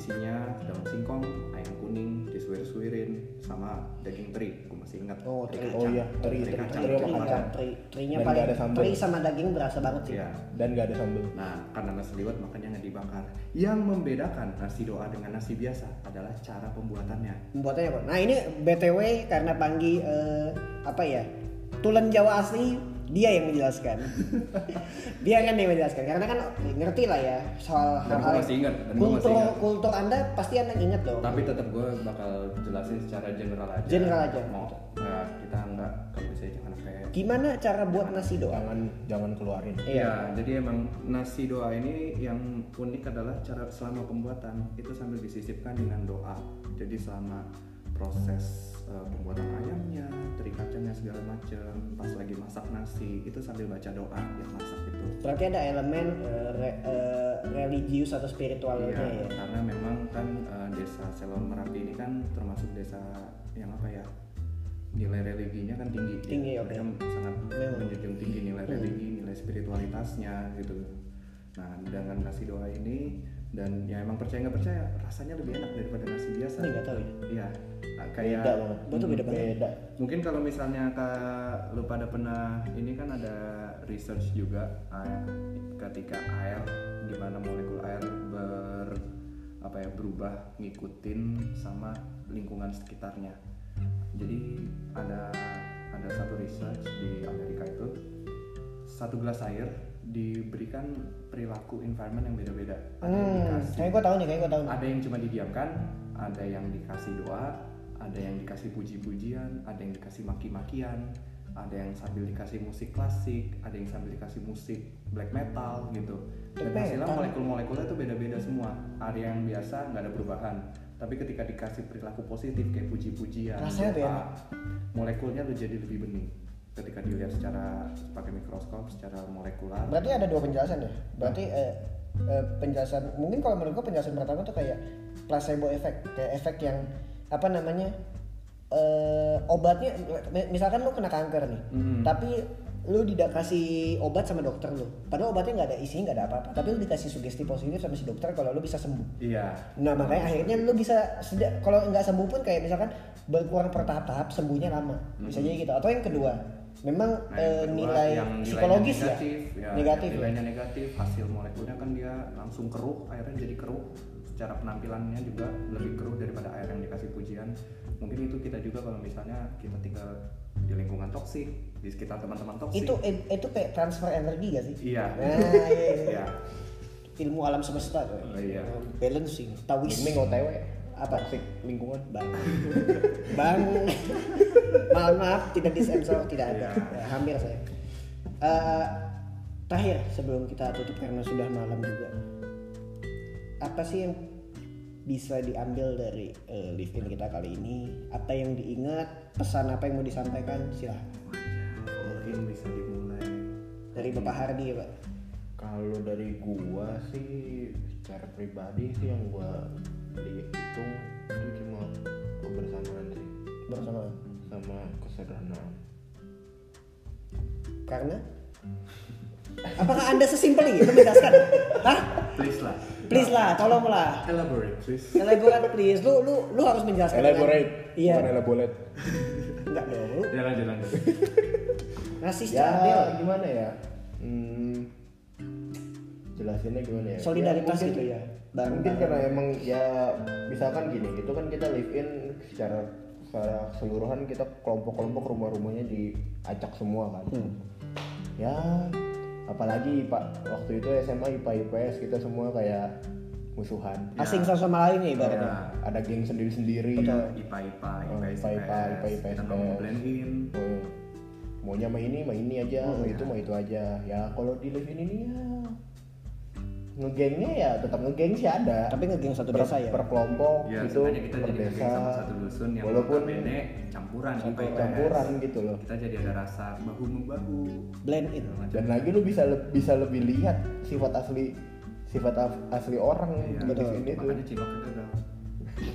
Speaker 3: isinya daun singkong, ayam kuning, disuir-suirin sama daging teri. Gue masih ingat.
Speaker 1: Oh, teri.
Speaker 2: Oh iya, teri,
Speaker 3: Teri
Speaker 2: teri,
Speaker 3: kacang.
Speaker 1: Teri,
Speaker 2: sama
Speaker 1: teri,
Speaker 2: kacang.
Speaker 1: teri, terinya
Speaker 2: Dan nggak
Speaker 1: paling
Speaker 2: ada sambal.
Speaker 1: teri sama daging berasa banget sih.
Speaker 3: Iya.
Speaker 2: Dan gak ada sambal.
Speaker 3: Nah, karena nasi liwet makanya nggak dibakar. Yang membedakan nasi doa dengan nasi biasa adalah cara pembuatannya.
Speaker 1: Pembuatannya apa? Nah ini BTW karena Panggi eh, apa ya Tulen Jawa asli dia yang menjelaskan dia kan yang menjelaskan karena kan ngerti lah ya soal
Speaker 3: Dan gua masih ingat, dan gua masih
Speaker 1: kultur
Speaker 3: ingat.
Speaker 1: kultur anda pasti anda ingat loh
Speaker 3: Tapi tetap gue bakal jelasin secara general aja.
Speaker 1: General aja.
Speaker 3: Mau ya, kita nggak kalau bisa jangan sampai
Speaker 1: gimana cara buat nasi doa
Speaker 2: Jangan jangan keluarin.
Speaker 3: Iya, jadi emang nasi doa ini yang unik adalah cara selama pembuatan itu sambil disisipkan dengan doa. Jadi selama proses eh, pembuatan ayamnya, teri kacangnya segala macam, pas lagi masak nasi itu sambil baca doa yang masak itu.
Speaker 1: berarti ada elemen eh, re- eh, religius atau spiritualnya
Speaker 3: Iya,
Speaker 1: ya
Speaker 3: karena memang kan eh, desa Selon Merapi ini kan termasuk desa yang apa ya nilai religinya kan tinggi.
Speaker 1: Tinggi, oke.
Speaker 3: Mereka sangat
Speaker 1: Memang. Hmm.
Speaker 3: menjunjung tinggi nilai religi, nilai spiritualitasnya gitu. Nah, dengan nasi doa ini dan ya emang percaya nggak percaya rasanya lebih enak daripada nasi biasa.
Speaker 1: ini nggak tahu ya
Speaker 3: Iya, nah, kayak
Speaker 2: Beda banget.
Speaker 1: Gua tuh
Speaker 3: Hmm,
Speaker 1: beda banget.
Speaker 2: Beda.
Speaker 3: Mungkin kalau misalnya kak lu pada pernah ini kan ada research juga ah, ketika air gimana molekul air ber apa apa ya berubah ngikutin sama lingkungan sekitarnya. Jadi ada ada satu research di Amerika itu satu gelas air diberikan perilaku environment yang beda-beda. Ada yang
Speaker 1: Hmm,
Speaker 3: dikasih-
Speaker 1: kayak gue tahu nih, kayak gue tahu nih.
Speaker 3: ada yang cuma didiamkan, ada yang dikasih doa, ada yang dikasih puji-pujian, ada yang dikasih maki-makian, ada yang sambil dikasih musik klasik, ada yang sambil dikasih musik black metal gitu. Dan
Speaker 1: Black
Speaker 3: hasilnya
Speaker 1: metal.
Speaker 3: molekul-molekulnya itu beda-beda semua. Ada yang biasa nggak ada perubahan, tapi ketika dikasih perilaku positif kayak puji-pujian,
Speaker 1: Rasanya tuh
Speaker 3: doa,
Speaker 1: enak.
Speaker 3: molekulnya tuh jadi lebih bening. Ketika dilihat secara pakai mikroskop, secara molekular,
Speaker 1: Berarti ada dua penjelasan ya. Berarti eh, eh, penjelasan mungkin kalau menurut gua penjelasan pertama tuh kayak placebo effect, kayak efek yang apa namanya eh, obatnya, mi- misalkan lu kena kanker nih,
Speaker 3: Mm-mm.
Speaker 1: tapi lu tidak kasih obat sama dokter lu. Padahal obatnya nggak ada isinya nggak ada apa-apa, tapi lu dikasih sugesti positif sama si dokter kalau lu bisa sembuh.
Speaker 3: iya,
Speaker 1: Nah makanya akhirnya lu bisa sedia- kalau nggak sembuh pun kayak misalkan berkurang bertahap-tahap sembuhnya lama bisa jadi gitu atau yang kedua memang
Speaker 3: Hmm. Nah,
Speaker 1: eh,
Speaker 3: yang kedua,
Speaker 1: nilai
Speaker 3: yang nilainya
Speaker 1: psikologis
Speaker 3: negatif,
Speaker 1: ya,
Speaker 3: ya,
Speaker 1: negatif
Speaker 3: yang
Speaker 1: ya.
Speaker 3: nilainya negatif hasil molekulnya kan dia langsung keruh airnya jadi keruh secara penampilannya juga lebih keruh daripada air yang dikasih pujian mungkin itu kita juga kalau misalnya kita tinggal di lingkungan toksik di sekitar teman-teman toksik
Speaker 1: itu eh, itu kayak transfer energi gak sih
Speaker 3: iya
Speaker 1: nah iya, iya.
Speaker 3: iya
Speaker 1: ilmu alam semesta tuh
Speaker 3: Oh, iya.
Speaker 1: balancing tawis
Speaker 2: Ini OTW
Speaker 1: apa
Speaker 2: toxic lingkungan.
Speaker 1: bang bang maaf maaf tidak disensor tidak ada
Speaker 3: Iya.
Speaker 1: Ya, hampir saya Eh, terakhir sebelum kita tutup karena sudah malam juga apa sih yang bisa diambil dari eh, live in kita kali ini apa yang diingat pesan apa yang mau disampaikan silahkan
Speaker 3: mungkin bisa dimulai
Speaker 1: dari bapak Hardi ya pak
Speaker 2: Kalau dari gua sih secara pribadi sih yang gua dihitung itu cuma kebersamaan sih
Speaker 1: bersama
Speaker 2: sama kesederhanaan.
Speaker 1: karena apakah anda sesimpel itu menjelaskan Hah?
Speaker 3: please lah
Speaker 1: please lah tolonglah
Speaker 3: elaborate please
Speaker 1: elaborate please lu lu lu harus menjelaskan dengan- iya
Speaker 2: bukan elaborate.
Speaker 1: Enggak dong, lu
Speaker 3: ya lanjut lanjut
Speaker 1: ngasih
Speaker 2: ya
Speaker 1: secara real.
Speaker 2: gimana ya? Hmm, jelasinnya gimana ya?
Speaker 1: solidaritas
Speaker 2: Ya, mungkin-
Speaker 1: gitu ya.
Speaker 2: mungkin
Speaker 1: Bareng-bareng.
Speaker 2: karena emang ya misalkan gini itu kan kita live in secara secara keseluruhan kita kelompok-kelompok rumah-rumahnya diacak semua kan ya apalagi pak waktu itu SMA IPA IPS kita semua kayak musuhan
Speaker 1: asing satu sama lain ya ibaratnya.
Speaker 3: Ya.
Speaker 2: ada geng sendiri-sendiri
Speaker 1: Betul.
Speaker 3: ipa ipa
Speaker 2: Oh,
Speaker 3: ipa ips
Speaker 2: IPA, IPA,
Speaker 3: kita nggak mau
Speaker 2: IPS.
Speaker 3: blend in
Speaker 2: Eh, maunya mah ini mah ini aja
Speaker 1: Oh,
Speaker 2: mau
Speaker 1: iya.
Speaker 2: itu mah itu aja ya kalau di live in ini ya ngegengnya ya tetap ngegeng sih ada
Speaker 1: Tapi ngegeng satu
Speaker 2: per,
Speaker 1: desa ya.
Speaker 2: per kelompok
Speaker 3: Ya,
Speaker 2: gitu
Speaker 3: sebenarnya kita
Speaker 2: per
Speaker 3: jadi
Speaker 2: desa
Speaker 3: negeri sama satu dusun yang
Speaker 2: walaupun
Speaker 3: notabene campuran IPA IPS.
Speaker 2: campuran gitu loh
Speaker 3: Kita jadi ada rasa bahu membahu.
Speaker 1: Blend in.
Speaker 2: dan lagi lu bisa le- bisa lebih lihat sifat asli sifat af- asli orang
Speaker 3: Iya,
Speaker 2: gitu di
Speaker 1: betul.
Speaker 2: sini tuh
Speaker 3: Makanya ciloknya gagal.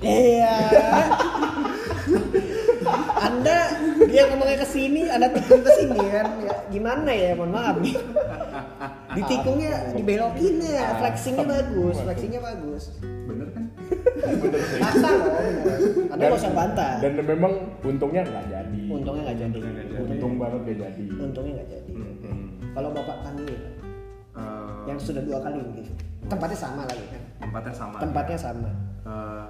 Speaker 1: Iya. anda dia ngomongnya ke sini, Anda tikung ke sini kan. Ya, gimana ya? Mohon maaf nih. Ditikungnya dibelokin ya, flexingnya bagus, flexingnya bagus.
Speaker 3: Bener kan?
Speaker 1: Asal loh, beneran. Anda
Speaker 2: Dan-
Speaker 1: nggak usah bantah.
Speaker 2: dan memang untungnya nggak jadi
Speaker 1: Untungnya nggak jadi.
Speaker 3: Untungnya nggak jadi.
Speaker 2: untung banget nggak jadi
Speaker 1: Untungnya nggak jadi.
Speaker 3: Hmm.
Speaker 1: Kalau bapak panggil
Speaker 3: Eh,
Speaker 1: yang sudah dua kali mungkin, tempatnya sama lagi kan?
Speaker 3: tempatnya sama.
Speaker 1: Tempatnya sama.
Speaker 3: Eh,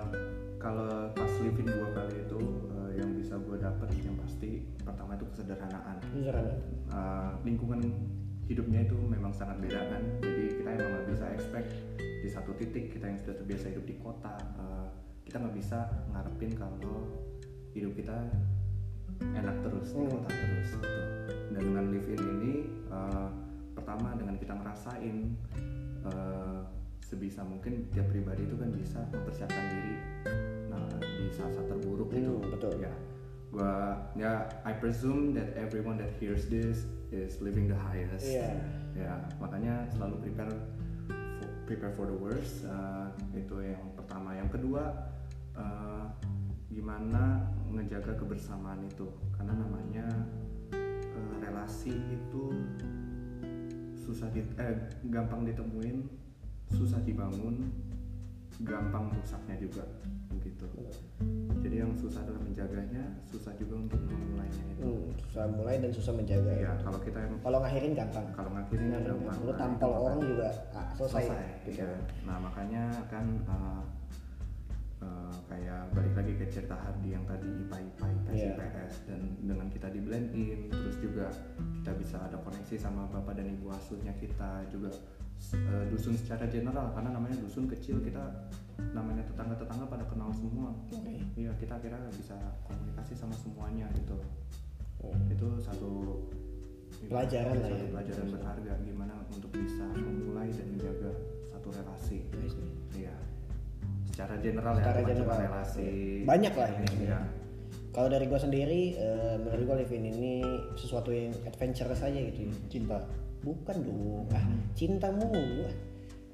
Speaker 3: kalau pas living dua kali itu eh, yang bisa gue dapet yang pasti pertama itu kesederhanaan.
Speaker 1: Beneran.
Speaker 3: Eh, lingkungan hidupnya itu memang sangat beda kan jadi kita emang nggak bisa expect di satu titik kita yang sudah terbiasa hidup di kota eh, kita nggak bisa ngarepin kalau hidup kita enak terus di kota terus gitu. dan dengan live in ini eh, pertama dengan kita ngerasain eh, sebisa mungkin tiap pribadi itu kan bisa mempersiapkan diri nah, di saat-saat terburuk gitu
Speaker 1: Hmm, betul.
Speaker 3: ya gua ya I presume that everyone that hears this is living the highest
Speaker 1: Iya.
Speaker 3: ya makanya selalu prepare for, prepare for the worst uh, itu yang pertama yang kedua uh, gimana ngejaga kebersamaan itu karena namanya uh, relasi itu susah di eh, gampang ditemuin susah dibangun gampang rusaknya juga gitu. begitu jadi yang susah dalam menjaganya susah juga untuk memulainya itu
Speaker 1: Hmm, susah mulai dan susah menjaga ya.
Speaker 3: ya kalau kita em-
Speaker 1: Kalau ngakhirin gampang.
Speaker 3: kalau
Speaker 1: Iya,
Speaker 3: ngakhirin
Speaker 1: Ngakhirin
Speaker 3: gampang
Speaker 1: gampang. Lu tampal orang juga ah, selesai.
Speaker 3: selesai, iya. nah makanya kan eh, eh, kayak balik lagi ke cerita Hardi yang tadi IPA IPA IPS
Speaker 1: Iya.
Speaker 3: IPS dan dengan kita di blend in terus juga kita bisa ada koneksi sama bapak dan ibu asuhnya kita juga s- eh, dusun secara general karena namanya dusun kecil kita namanya tetangga tetangga pada kenal semua iya kita akhirnya bisa komunikasi sama semuanya gitu itu satu
Speaker 1: Oh. Pelajaran lah
Speaker 3: satu
Speaker 1: ya.
Speaker 3: pelajaran berharga gimana untuk bisa memulai dan menjaga satu relasi iya secara general
Speaker 1: Secara
Speaker 3: ya bukan cuma
Speaker 1: general.
Speaker 3: relasi
Speaker 1: Banyak lah ini.
Speaker 3: iya
Speaker 1: Kalau dari gue sendiri, eh, menurut gue live in ini sesuatu yang adventurous aja gitu ya.
Speaker 3: Hmm.
Speaker 2: cinta
Speaker 1: Bukan dong, ah, cinta mulu. ah.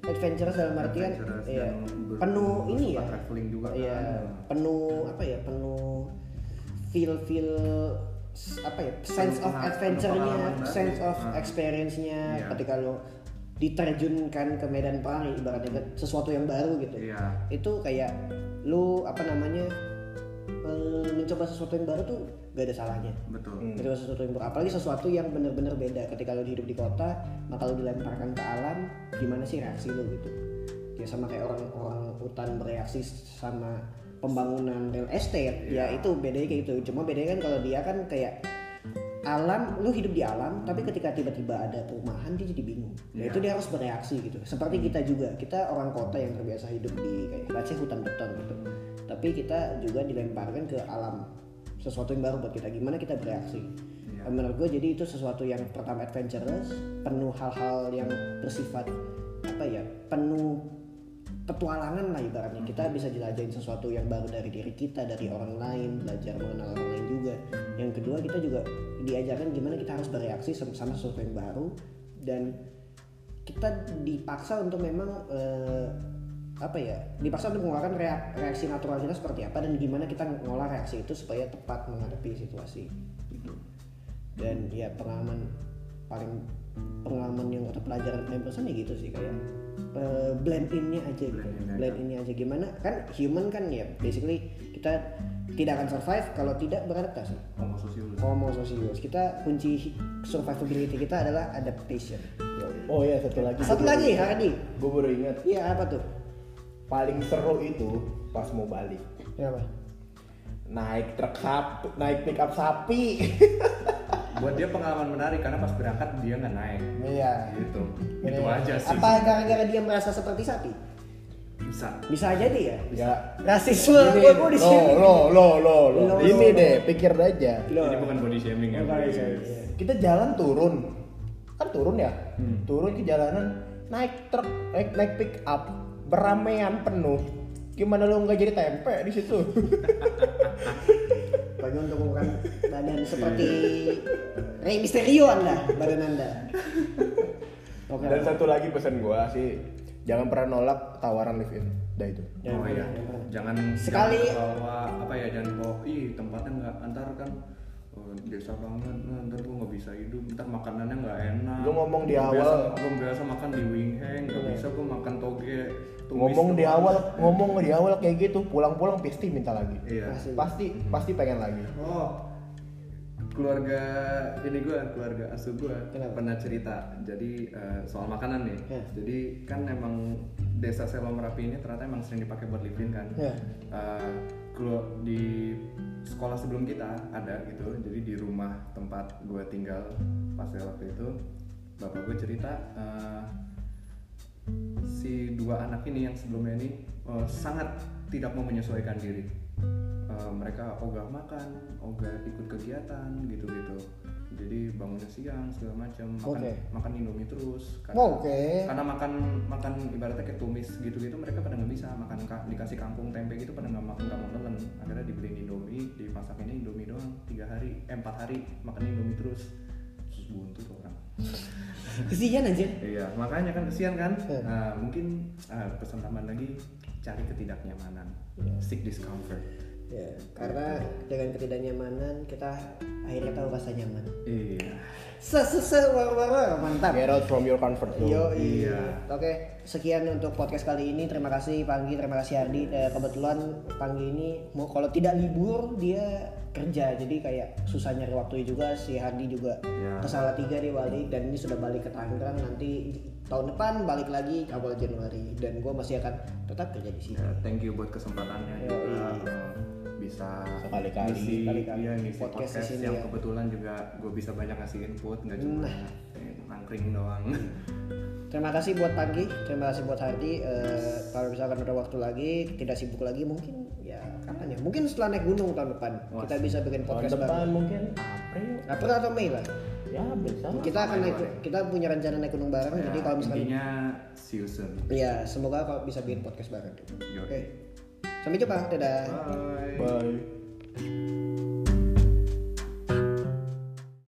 Speaker 1: Adventurous dalam artian
Speaker 3: Adventurous
Speaker 1: iya,
Speaker 3: dan ber-
Speaker 1: penuh ini ya.
Speaker 3: suka traveling juga kan.
Speaker 1: Iya, penuh apa ya? Penuh feel feel apa ya? Sense of
Speaker 3: Pengalaman-
Speaker 1: adventure-nya,
Speaker 3: pengalaman baru.
Speaker 1: sense of
Speaker 3: Ah.
Speaker 1: experience-nya
Speaker 3: Iya.
Speaker 1: ketika lo diterjunkan ke medan perang ibaratnya ke sesuatu yang baru gitu
Speaker 3: iya
Speaker 1: itu kayak lu apa namanya eh, mencoba sesuatu yang baru tuh gak ada salahnya
Speaker 3: betul
Speaker 2: Hmm.
Speaker 1: mencoba sesuatu yang baru apalagi sesuatu yang bener-bener beda ketika lu hidup di kota maka lu dilemparkan ke alam gimana sih reaksi lu gitu ya sama kayak orang-orang hutan bereaksi sama pembangunan real estate ya itu bedanya kayak gitu cuma bedanya kan kalau dia kan kayak alam lu hidup di alam tapi ketika tiba-tiba ada perumahan dia jadi bingung nah
Speaker 3: Iya.
Speaker 1: itu dia harus bereaksi gitu seperti kita juga kita orang kota yang terbiasa hidup di kayak let's say hutan beton gitu tapi kita juga dilemparkan ke alam sesuatu yang baru buat kita gimana kita bereaksi
Speaker 3: Iya.
Speaker 1: Eh, menurut gue jadi itu sesuatu yang pertama adventurous penuh hal-hal yang bersifat apa ya penuh petualangan lah ibaratnya kita bisa jelajahin sesuatu yang baru dari diri kita dari orang lain belajar mengenal orang lain juga yang kedua kita juga diajarkan gimana kita harus bereaksi sama sama sesuatu yang baru dan kita dipaksa untuk memang eh, apa ya dipaksa untuk mengeluarkan rea- reaksi natural kita seperti apa dan gimana kita ngolah reaksi itu supaya tepat menghadapi situasi gitu dan ya pengalaman paling pengalaman yang atau pelajaran paling besar ya gitu sih kayak eh, blend innya aja gitu.
Speaker 3: Blend in aja.
Speaker 1: blend innya aja gimana kan human kan ya basically kita tidak akan survive kalau tidak beradaptasi
Speaker 3: homo sosiologis
Speaker 1: homo socius kita kunci survivability kita adalah adaptation
Speaker 2: oh iya satu lagi
Speaker 1: satu lagi Hardi
Speaker 2: gue baru ingat
Speaker 1: iya apa tuh
Speaker 2: paling seru itu pas mau balik
Speaker 1: Kenapa?
Speaker 2: naik truk sapi naik pick up sapi
Speaker 3: buat dia pengalaman menarik karena pas berangkat dia nggak naik
Speaker 1: Iya.
Speaker 3: gitu itu aja sih
Speaker 1: Apa gara-gara dia merasa seperti sapi?
Speaker 3: bisa
Speaker 1: Bisa jadi ya.
Speaker 2: ya
Speaker 1: Rasisme
Speaker 2: ini
Speaker 1: gue gue di
Speaker 2: lo
Speaker 1: sini.
Speaker 2: lo lo lo lo
Speaker 1: Lo,
Speaker 2: ini
Speaker 1: lo.
Speaker 2: deh pikir aja
Speaker 1: Loh.
Speaker 3: ini bukan body shaming ya
Speaker 1: Bukan
Speaker 3: guys.
Speaker 1: bisa, iya.
Speaker 2: kita jalan turun kan turun ya
Speaker 1: Hmm.
Speaker 2: turun ke jalanan naik truk naik naik pick up beramean penuh gimana lo nggak jadi tempe di situ
Speaker 1: Bagi untuk ukuran badan
Speaker 3: Iya.
Speaker 1: seperti Rey Mysterio Anda, badan Anda. Oke.
Speaker 2: dan satu lagi pesan gua sih jangan pernah nolak tawaran live in dah itu
Speaker 1: Jangan
Speaker 3: oh
Speaker 2: ya,
Speaker 3: iya,
Speaker 1: pernah, jangan
Speaker 3: jangan
Speaker 1: Sekali-
Speaker 3: jangan bawa apa ya jangan bawa ih tempatnya nggak antar kan oh, desa banget nah, ntar gua nggak bisa hidup ntar makanannya nggak enak
Speaker 2: Lu ngomong di
Speaker 3: Gua
Speaker 2: awal. Iya.
Speaker 3: biasa, gua biasa makan di wingheng nggak bisa gua makan toge tumis
Speaker 2: ngomong di
Speaker 3: doang.
Speaker 2: awal ngomong di awal kayak gitu pulang-pulang pasti minta lagi
Speaker 3: iya
Speaker 1: Pasti.
Speaker 2: pasti pasti pengen lagi
Speaker 3: oh keluarga ini gua keluarga asuh gua
Speaker 1: Kenapa?
Speaker 3: pernah cerita jadi eh, soal makanan nih
Speaker 1: Ya.
Speaker 3: jadi kan emang desa Selong Merapi ini ternyata emang sering dipakai buat living kan
Speaker 1: Ya.
Speaker 3: Eh, kalau di sekolah sebelum kita ada gitu jadi di rumah tempat gue tinggal pas waktu itu bapak gue cerita eh, si dua anak ini yang sebelumnya ini eh, sangat tidak mau menyesuaikan diri Eh, mereka ogah makan ogah ikut kegiatan gitu gitu jadi bangunnya siang segala macam makan
Speaker 1: Oke.
Speaker 3: makan indomie terus karena-
Speaker 1: Oh, Oke.
Speaker 3: karena makan makan ibaratnya kayak tumis gitu-gitu mereka pada nggak bisa makan ka- dikasih kampung tempe gitu pada nggak makan nggak mau telan akhirnya dibeliin indomie dimasak ini indomie doang tiga hari eh, empat hari makan indomie terus terus buntu tuh orang
Speaker 1: Kesian aja.
Speaker 3: iya makanya kan kesian kan
Speaker 1: Iya. Iya.
Speaker 3: Nah, mungkin eh, pesan tambahan lagi cari ketidaknyamanan seek discomfort
Speaker 1: Ya, karena dengan ketidaknyamanan kita akhirnya tahu rasa nyaman.
Speaker 2: Iya.
Speaker 1: Se se se war war war mantap.
Speaker 2: Get out from your comfort zone.
Speaker 1: Yo,
Speaker 3: Iya.
Speaker 1: Oke, sekian untuk podcast kali ini. Terima kasih Panggi, terima kasih Ardi. Eh, kebetulan Panggi ini mau kalau tidak libur dia kerja, jadi kayak susah nyari waktu juga. Si Hardi juga
Speaker 3: Iya.
Speaker 1: kesalah tiga dia balik dan ini sudah balik ke Tangerang. Nanti tahun depan balik lagi awal Januari dan gue masih akan tetap kerja di sini.
Speaker 3: Ya, thank you buat kesempatannya
Speaker 1: Yoi.
Speaker 3: juga eh, bisa
Speaker 2: Sekali-kali.
Speaker 3: ngisi,
Speaker 1: Iya. Sekali-kali
Speaker 3: iya, ngisi
Speaker 1: podcast di
Speaker 3: podcast,
Speaker 1: sini
Speaker 3: yang
Speaker 1: ya. Hmm.
Speaker 3: kebetulan juga gue bisa banyak ngasih input nggak cuma eh, nangkring doang
Speaker 1: Terima kasih buat Panggi, terima kasih buat Hardi. Eh, kalau misalkan ada waktu lagi, tidak sibuk lagi mungkin ya kapan ya? Mungkin setelah naik gunung tahun depan
Speaker 3: Wah,
Speaker 1: kita bisa bikin
Speaker 2: Tahun
Speaker 1: podcast
Speaker 2: depan
Speaker 1: baru.
Speaker 2: mungkin April.
Speaker 1: April Nah, atau Mei lah.
Speaker 2: Ya bisa.
Speaker 1: kita akan
Speaker 3: sama
Speaker 1: naik
Speaker 3: ya.
Speaker 1: kita punya rencana naik gunung bareng
Speaker 3: Ya,
Speaker 1: Oh, jadi kalau misalkan
Speaker 3: intinya see you soon
Speaker 1: ya semoga kalau bisa bikin podcast bareng oke
Speaker 3: Yoi.
Speaker 1: Eh, sampai jumpa dadah
Speaker 3: bye
Speaker 2: Bye.